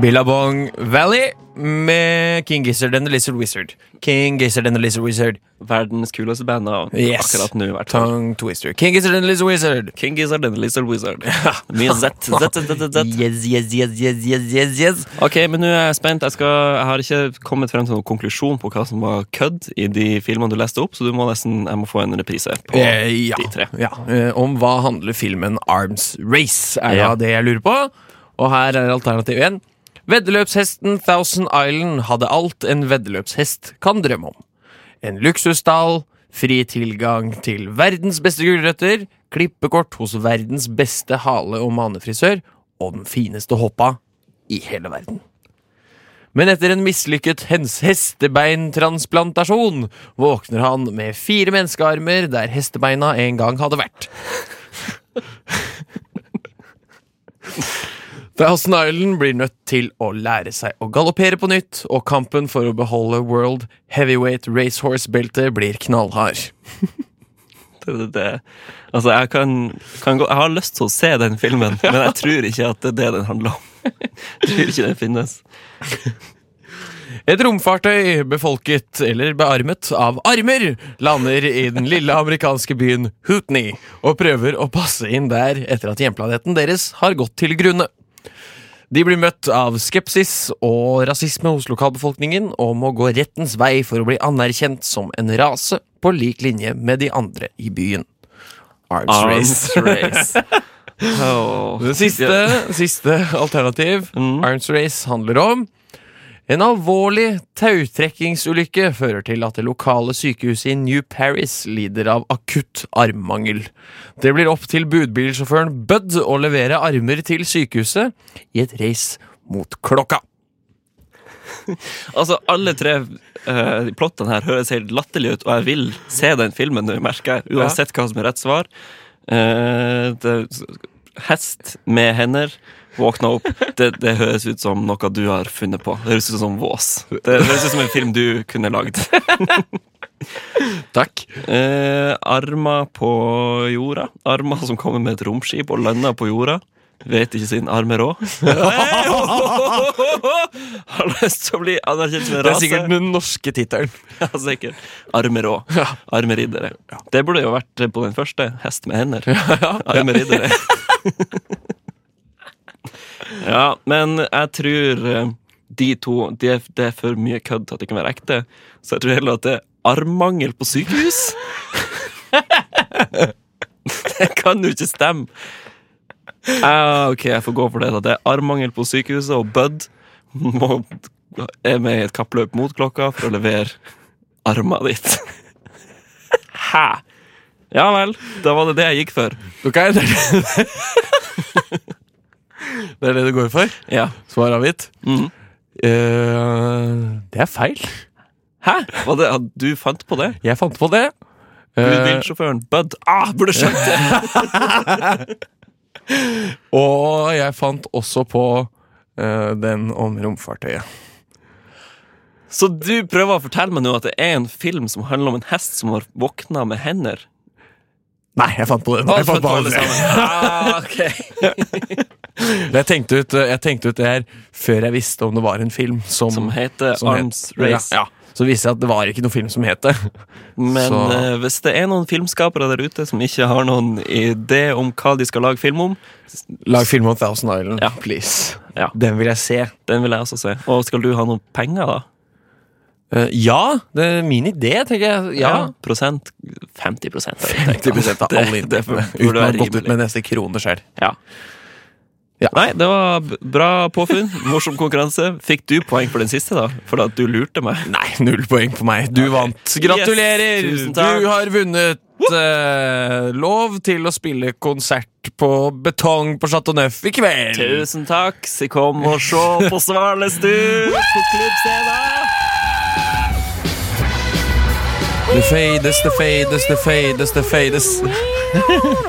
Speaker 2: Billabong Valley med King Gizzard and the Lizard Wizard. King Gizzard and the Lizard Wizard.
Speaker 3: Verdens kuleste band av
Speaker 2: Yes.
Speaker 3: akkurat nå, i hvert fall.
Speaker 2: Tongue twister. King Gizzard and the Lizard Wizard.
Speaker 3: King Gizzard and the Lizard Wizard. Mye Z, Z, Z, Z, Z.
Speaker 2: Yes, yes, yes, yes, yes, yes, yes.
Speaker 3: Ok, men nå er jeg spent. Jeg, skal, jeg har ikke kommet frem til noen konklusjon på hva som var kødd i de filmene du leste opp, så du må nesten, jeg må få en reprise på
Speaker 2: Eh, ja.
Speaker 3: de tre.
Speaker 2: ja. Eh, om hva handler filmen Arms Race, er da
Speaker 3: Ja.
Speaker 2: det jeg lurer på. Og her er alternativ én. Veddeløpshesten Thousand Island hadde alt en veddeløpshest kan drømme om. En luksusstall, fri tilgang til verdens beste gulrøtter, klippekort hos verdens beste hale- og manefrisør og den fineste hoppa i hele verden. Men etter en mislykket hens hestebeintransplantasjon våkner han med fire menneskearmer der hestebeina en gang hadde vært. Thousand Island blir nødt til å lære seg å galoppere på nytt, og kampen for å beholde World Heavyweight Racehorse-beltet blir knallhard.
Speaker 3: Det, det, det. Altså, jeg, kan, kan gå, jeg har lyst til å se den filmen, men jeg tror ikke at det er det den handler om. Jeg tror ikke den finnes.
Speaker 2: Et romfartøy befolket eller bearmet av armer lander i den lille amerikanske byen Hootney og prøver å passe inn der etter at hjemplaneten deres har gått til grunne. De blir møtt av skepsis og rasisme hos lokalbefolkningen og må gå rettens vei for å bli anerkjent som en rase på lik linje med de andre i byen. Arms, race.
Speaker 3: Arms Race. Åh.
Speaker 2: Det siste, siste alternativ Arms Race handler om En alvorlig tautrekkingsulykke fører til at det lokale sykehuset i New Paris lider av akutt armmangel. Det blir opp til budbilsjåføren Bud å levere armer til sykehuset i et race mot klokka.
Speaker 3: Altså, alle tre eh, de plottene her høres helt latterlige ut, og jeg vil se den filmen nå, merker jeg. Uansett hva som er rett svar. Eh, det, hest med hender våkna opp. Det, det høres ut som noe du har funnet på. Det høres ut som Vås. Det høres ut som en film du kunne lagd.
Speaker 2: Takk.
Speaker 3: Eh, armer på jorda. Armer som kommer med et romskip og lander på jorda. Vet ikke sin arm er rå. Hey, ho, ho, ho, ho, ho. Har lyst til å bli anerkjent som en
Speaker 2: Det er
Speaker 3: rase.
Speaker 2: sikkert den norske tittelen.
Speaker 3: Ja, sikkert. Arme rå. Arme riddere. Det burde jo vært på den første. Hest med hender. Arme riddere. ja, men jeg tror eh, de to de er, Det er for mye kødd til at det kan være ekte. Så jeg tror heller at det er armmangel på sykehus. det kan jo ikke stemme. Ja, ok, jeg får gå for det. da. Det er armmangel på sykehuset, og Bud må, er med i et kappløp mot klokka for å levere armen ditt. Hæ? Ja vel, da var det det jeg gikk for.
Speaker 2: Ok, det er det. det er det du går for? Mm.
Speaker 3: Ja.
Speaker 2: Svar avgitt?
Speaker 3: Mhm.
Speaker 2: Eh, det er feil.
Speaker 3: Hæ? Var det, at du fant på det?
Speaker 2: Jeg fant på det. Eh,
Speaker 3: Bilsjåføren Bud. Ah, burde skjønt det!
Speaker 2: og jeg fant også på eh, den om romfartøyet.
Speaker 3: Så du prøver å fortelle meg nå at det er en film som handler om en hest som har våkna med hender?
Speaker 2: Nei, jeg fant på den. Jeg, fant på
Speaker 3: alle
Speaker 2: den.
Speaker 3: sammen. Ah, ok.
Speaker 2: jeg, tenkte ut, eh, jeg tenkte ut det her før jeg visste om det var en film som,
Speaker 3: Som heter
Speaker 2: som het-
Speaker 3: Arms Race.
Speaker 2: Ja, ja. Så viste jeg at det var ikke noen film som het det.
Speaker 3: Men
Speaker 2: Så-
Speaker 3: eh, hvis det er noen filmskapere der ute som ikke har noen idé om hva de skal lage film om,
Speaker 2: Lag film om Thousand Island,
Speaker 3: Ja.
Speaker 2: please.
Speaker 3: Ja.
Speaker 2: Den vil jeg se.
Speaker 3: den vil jeg også se. Og skal du ha noen penger, da?
Speaker 2: Eh, ja, det er min idé, tenker jeg. Ja.
Speaker 3: Prosent? 50 prosent.
Speaker 2: 50 av alle
Speaker 3: det
Speaker 2: inntektene.
Speaker 3: burde
Speaker 2: Uten å ha
Speaker 3: være
Speaker 2: gått ut
Speaker 3: rimelig.
Speaker 2: med neste krone selv.
Speaker 3: Ja.
Speaker 2: Ja.
Speaker 3: Nei, det var b- bra påfunn. Morsom konkurranse. Fikk du poeng for den siste, da? For at du lurte meg?
Speaker 2: Nei, null poeng på meg. Du vant. Gratulerer!
Speaker 3: Yes, tusen takk.
Speaker 2: du har vunnet eh, lov til å spille konsert på betong på Chateau Neuf i kveld.
Speaker 3: Tusen takk. Så kom og se på Svalestuen på klubbscenen!
Speaker 2: Det fades, det fades, det fades, det fades.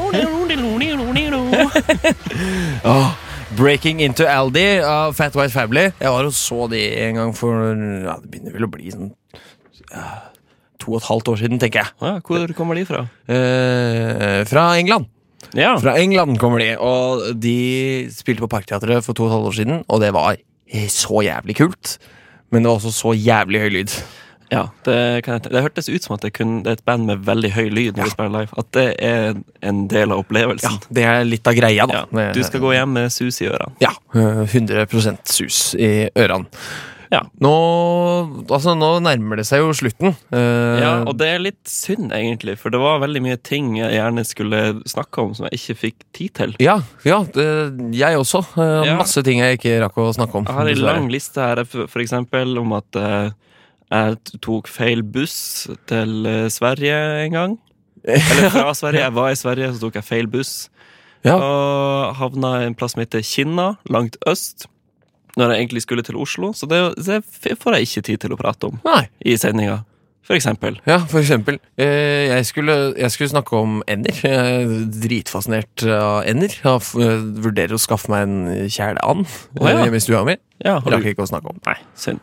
Speaker 2: Åh, Breaking Into Aldi av Fat White Family. Jeg var og så de en gang for ja, Det begynner vel å bli sånn eh, to og et halvt år siden, tenker jeg.
Speaker 3: Ja, hvor kommer de fra?
Speaker 2: Eh, fra England.
Speaker 3: Ja.
Speaker 2: Fra England kommer de, og de spilte på Parkteatret for to og et halvt år siden, og det var eh, så jævlig kult. Men det var også så jævlig høy lyd.
Speaker 3: Ja, det, kan jeg, tenke- det hørtes ut som at det, kun, det er et band med veldig høy lyd når de spiller live. At det er en del av
Speaker 2: Ja,
Speaker 3: opplevelsen.
Speaker 2: det er litt av greia, da.
Speaker 3: Ja, Du skal gå hjem med sus i ørene.
Speaker 2: Ja. eh, 100 sus i ørene.
Speaker 3: Ja.
Speaker 2: Nå, altså, nå nærmer det seg jo slutten. Eh,
Speaker 3: Ja, og det er litt synd, egentlig, for det var veldig mye ting jeg gjerne skulle snakke om som jeg ikke fikk tid til.
Speaker 2: ja, ja, det- jeg også. Eh,
Speaker 3: Ja.
Speaker 2: Masse ting jeg ikke rakk å snakke om.
Speaker 3: Jeg har en
Speaker 2: dessverre.
Speaker 3: lang liste her, for for eksempel om at eh, jeg t- tok feil buss til eh, Sverige en gang. Eller fra Sverige. Jeg var i Sverige, så tok jeg feil buss.
Speaker 2: Ja.
Speaker 3: Og havna i en plass som heter Kinna, langt øst. Når jeg egentlig skulle til Oslo, så det, det f- får jeg ikke tid til å prate om
Speaker 2: Nei.
Speaker 3: i sendinga. For eksempel.
Speaker 2: Ja, for eksempel. Eh, jeg, skulle, jeg skulle snakke om ender. Jeg er dritfascinert av ender. Jeg har f- eh, vurderer å skaffe meg en kjæleand
Speaker 3: Å, ja.
Speaker 2: eh, hjemme i stua mi.
Speaker 3: Ja, har du
Speaker 2: Rakk ikke å snakke om.
Speaker 3: Nei, synd.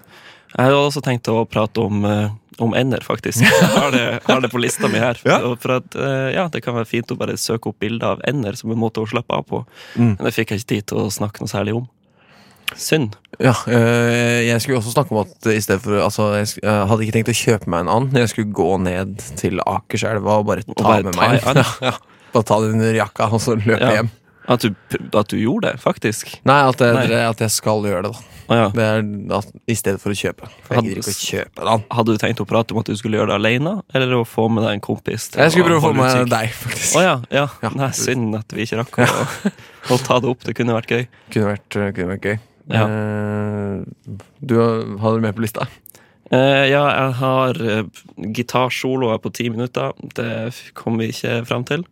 Speaker 3: Jeg hadde også tenkt å prate om, eh, om ender, faktisk. Jeg har det, har det på lista mi her. Og For at, eh, ja, det kan være fint å bare søke opp bilder av ender som en måte å slappe av på.
Speaker 2: Mm.
Speaker 3: Men det fikk jeg ikke tid til å snakke noe særlig om. Synd.
Speaker 2: Ja, eh, jeg skulle også snakke om at i stedet for altså, Jeg sk- eh, hadde ikke tenkt å kjøpe meg en and. Jeg skulle gå ned til Akerselva og bare ta
Speaker 3: bare
Speaker 2: med
Speaker 3: ta
Speaker 2: meg
Speaker 3: en and?
Speaker 2: en. Ja, ja. Bare ta den under jakka og så løpe
Speaker 3: Ja.
Speaker 2: hjem.
Speaker 3: At du, at du gjorde det, faktisk.
Speaker 2: Nei at, jeg,
Speaker 3: Nei.
Speaker 2: at jeg skal gjøre det, da.
Speaker 3: Å ja.
Speaker 2: Det er, at, I stedet for å kjøpe. For
Speaker 3: Hadde-
Speaker 2: jeg gidder ikke å kjøpe en and.
Speaker 3: Hadde du tenkt å prate om at du skulle gjøre det alene, eller å få med deg en kompis? til
Speaker 2: Jeg skulle prøve å få
Speaker 3: holde
Speaker 2: med
Speaker 3: utkikk?
Speaker 2: deg, faktisk.
Speaker 3: Å ja, ja.
Speaker 2: Ja.
Speaker 3: Nei, synd at vi ikke rakk å, å ta det opp. Det kunne vært gøy.
Speaker 2: Kunne vært, kunne vært gøy.
Speaker 3: Ja.
Speaker 2: Eh, du har det med på lista?
Speaker 3: Eh, ja, jeg har uh, gitarsoloer på ti minutter. Det f- kom vi ikke fram til.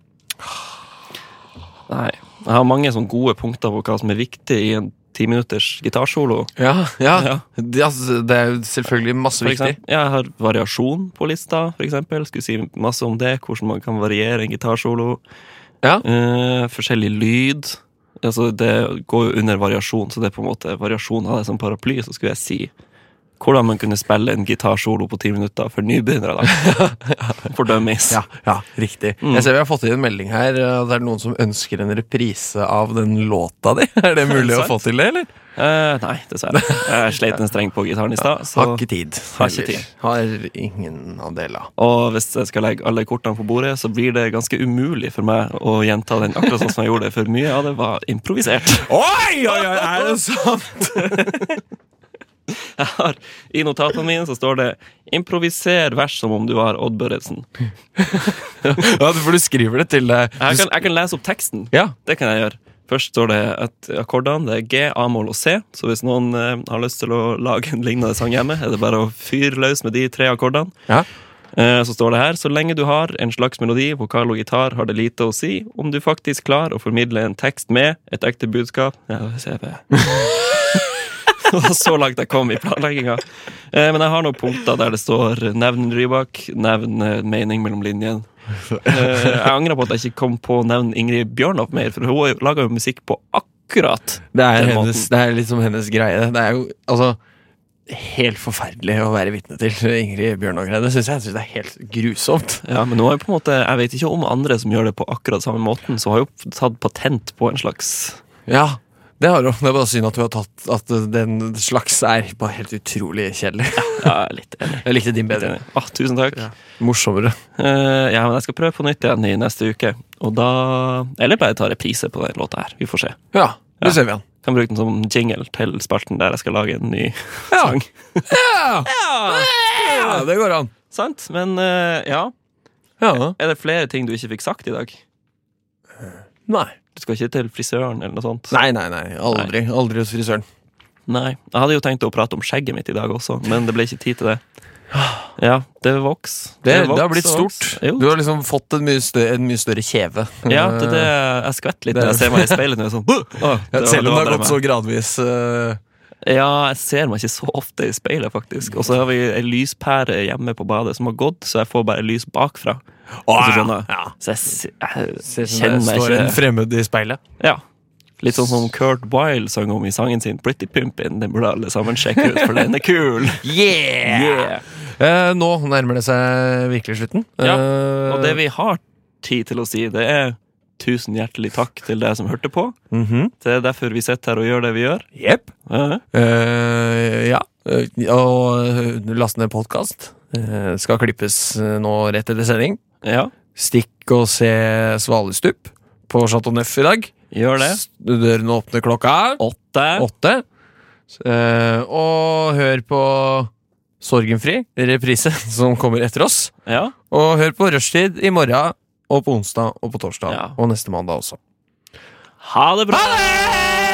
Speaker 3: Nei. Jeg har mange sånne gode punkter på hva som er viktig i en timinutters gitarsolo.
Speaker 2: Ja, ja.
Speaker 3: Ja.
Speaker 2: Det, altså, det er jo selvfølgelig masse
Speaker 3: For
Speaker 2: viktig.
Speaker 3: eksempel, jeg har variasjon på lista, for eksempel. Skulle si masse om det, hvordan man kan variere en gitarsolo.
Speaker 2: Ja.
Speaker 3: Eh, forskjellig lyd. Altså, det går jo under variasjon, så det er på en måte variasjon av det som paraply. Så skulle jeg si hvordan man kunne spille en gitarsolo på ti minutter for nybegynnere. da. For dummies.
Speaker 2: Ja, ja riktig.
Speaker 3: Mm.
Speaker 2: Jeg ser vi har fått inn en melding her. og Det er noen som ønsker en reprise av den låta di. Er det mulig å få til det, eller?
Speaker 3: Eh, nei, dessverre. Jeg sleit en streng på gitaren i stad.
Speaker 2: Har
Speaker 3: så-
Speaker 2: ikke tid.
Speaker 3: Har ikke tid.
Speaker 2: Har ingen andeler.
Speaker 3: Og hvis jeg skal legge alle kortene på bordet, så blir det ganske umulig for meg å gjenta den akkurat sånn som jeg gjorde det, for mye av det var improvisert.
Speaker 2: Oi, oi, oi, er det sant?
Speaker 3: Jeg har, I notatene mine så står det 'improviser vers som om du var Odd Børretzen'.
Speaker 2: Ja, for du skriver det til deg.
Speaker 3: Jeg kan, jeg kan lese opp teksten.
Speaker 2: Ja,
Speaker 3: Det kan jeg gjøre. Først står det at akkordene det er G, A-moll og C. Så hvis noen eh, har lyst til å lage en lignende sang hjemme, er det bare å fyre løs med de tre akkordene.
Speaker 2: Ja.
Speaker 3: Eh, Så står det her så lenge du har en slags melodi, vokal og gitar, har det lite å si om du faktisk klarer å formidle en tekst med et ekte budskap. Ja, det ser jeg på. Det var så langt jeg kom i planlegginga. Eh, Men jeg har noen punkter der det står eh, nevn Rybak, nevn eh, mening mellom linjene. Eh, Jeg angrer på at jeg ikke kom på å nevne Ingrid Bjørnov mer, for hun laga jo musikk på akkurat
Speaker 2: det er,
Speaker 3: den
Speaker 2: hennes,
Speaker 3: måten.
Speaker 2: det er liksom hennes greie. Det er jo altså helt forferdelig å være vitne til Ingrid Bjørnågreie. Det syns jeg, jeg synes det er helt grusomt.
Speaker 3: Ja, men nå har jeg på en måte Jeg vet ikke om andre som gjør det på akkurat samme måten, så har jeg jo tatt patent på en slags
Speaker 2: Ja, det har hun. Det er bare synd at du har tatt at den slags er bare helt utrolig kjedelig.
Speaker 3: Ja, litt enig.
Speaker 2: Jeg likte din bedre.
Speaker 3: Bedre. Ah, tusen takk.
Speaker 2: Morsommere.
Speaker 3: Eh, ja, men jeg skal prøve på nytt igjen i neste uke. Og da Eller bare ta reprise på den låta her. Vi får se.
Speaker 2: Ja,
Speaker 3: Ja.
Speaker 2: det ser vi an.
Speaker 3: Kan bruke den som jingle til spalten der jeg skal lage en ny
Speaker 2: Ja.
Speaker 3: sang.
Speaker 2: Sånn. Ja, det går an.
Speaker 3: Sant? Men eh, ja.
Speaker 2: Ja,
Speaker 3: Er det flere ting du ikke fikk sagt i dag?
Speaker 2: Nei.
Speaker 3: Du skal ikke til frisøren eller noe sånt?
Speaker 2: Nei, nei, nei. Aldri. Aldri hos frisøren.
Speaker 3: Nei. Jeg hadde jo tenkt å prate om skjegget mitt i dag også, men det ble ikke tid til det. Ja, det vokser.
Speaker 2: Det, det,
Speaker 3: vokser
Speaker 2: har blitt
Speaker 3: og
Speaker 2: stort.
Speaker 3: vokser.
Speaker 2: Du
Speaker 3: Jo.
Speaker 2: har liksom fått en mye større, en mye større kjeve.
Speaker 3: Ja, det, det, jeg skvetter litt
Speaker 2: Det-
Speaker 3: når jeg ser meg i speilet nå. Sånn. Å,
Speaker 2: Ja,
Speaker 3: var-
Speaker 2: Selv om det har
Speaker 3: var bare
Speaker 2: gått
Speaker 3: meg.
Speaker 2: så gradvis. eh,
Speaker 3: Ja, jeg ser meg ikke så ofte i speilet, faktisk. Og så har vi ei lyspære hjemme på badet som har gått, så jeg får bare lys bakfra. Hvis du skjønner. Så jeg, s- jeg kjenner
Speaker 2: det
Speaker 3: meg
Speaker 2: står en
Speaker 3: ikke
Speaker 2: fremmed i speilet.
Speaker 3: ja. Litt sånn som Kurt Wilde sang om i sangen sin 'Pretty Pimpin'. Den burde alle sammen sjekke ut, for den er kul!
Speaker 2: Yeah!
Speaker 3: Yeah.
Speaker 2: Eh, nå nærmer det seg virkelig slutten.
Speaker 3: Ja,
Speaker 2: Eh,
Speaker 3: Og det vi har tid til å si, det er tusen hjertelig takk til deg som hørte på.
Speaker 2: mhm.
Speaker 3: Det er derfor vi sitter her og gjør det vi gjør.
Speaker 2: Jepp.
Speaker 3: Ja.
Speaker 2: Eh, ja. Eh, Og eh, last ned podkast. Eh, skal klippes eh, nå rett etter sending.
Speaker 3: ja.
Speaker 2: Stikk og se Svalestup på Chateau Neuf i dag.
Speaker 3: Gjør det.
Speaker 2: S- Dørene åpner klokka
Speaker 3: Åtte.
Speaker 2: åtte. Eh, og hør på Sorgenfri, reprise, som kommer etter oss.
Speaker 3: Ja.
Speaker 2: Og hør på Rushtid i morgen og på onsdag og på torsdag
Speaker 3: Ja.
Speaker 2: og neste mandag også.
Speaker 3: Ha det bra!
Speaker 2: Ha det!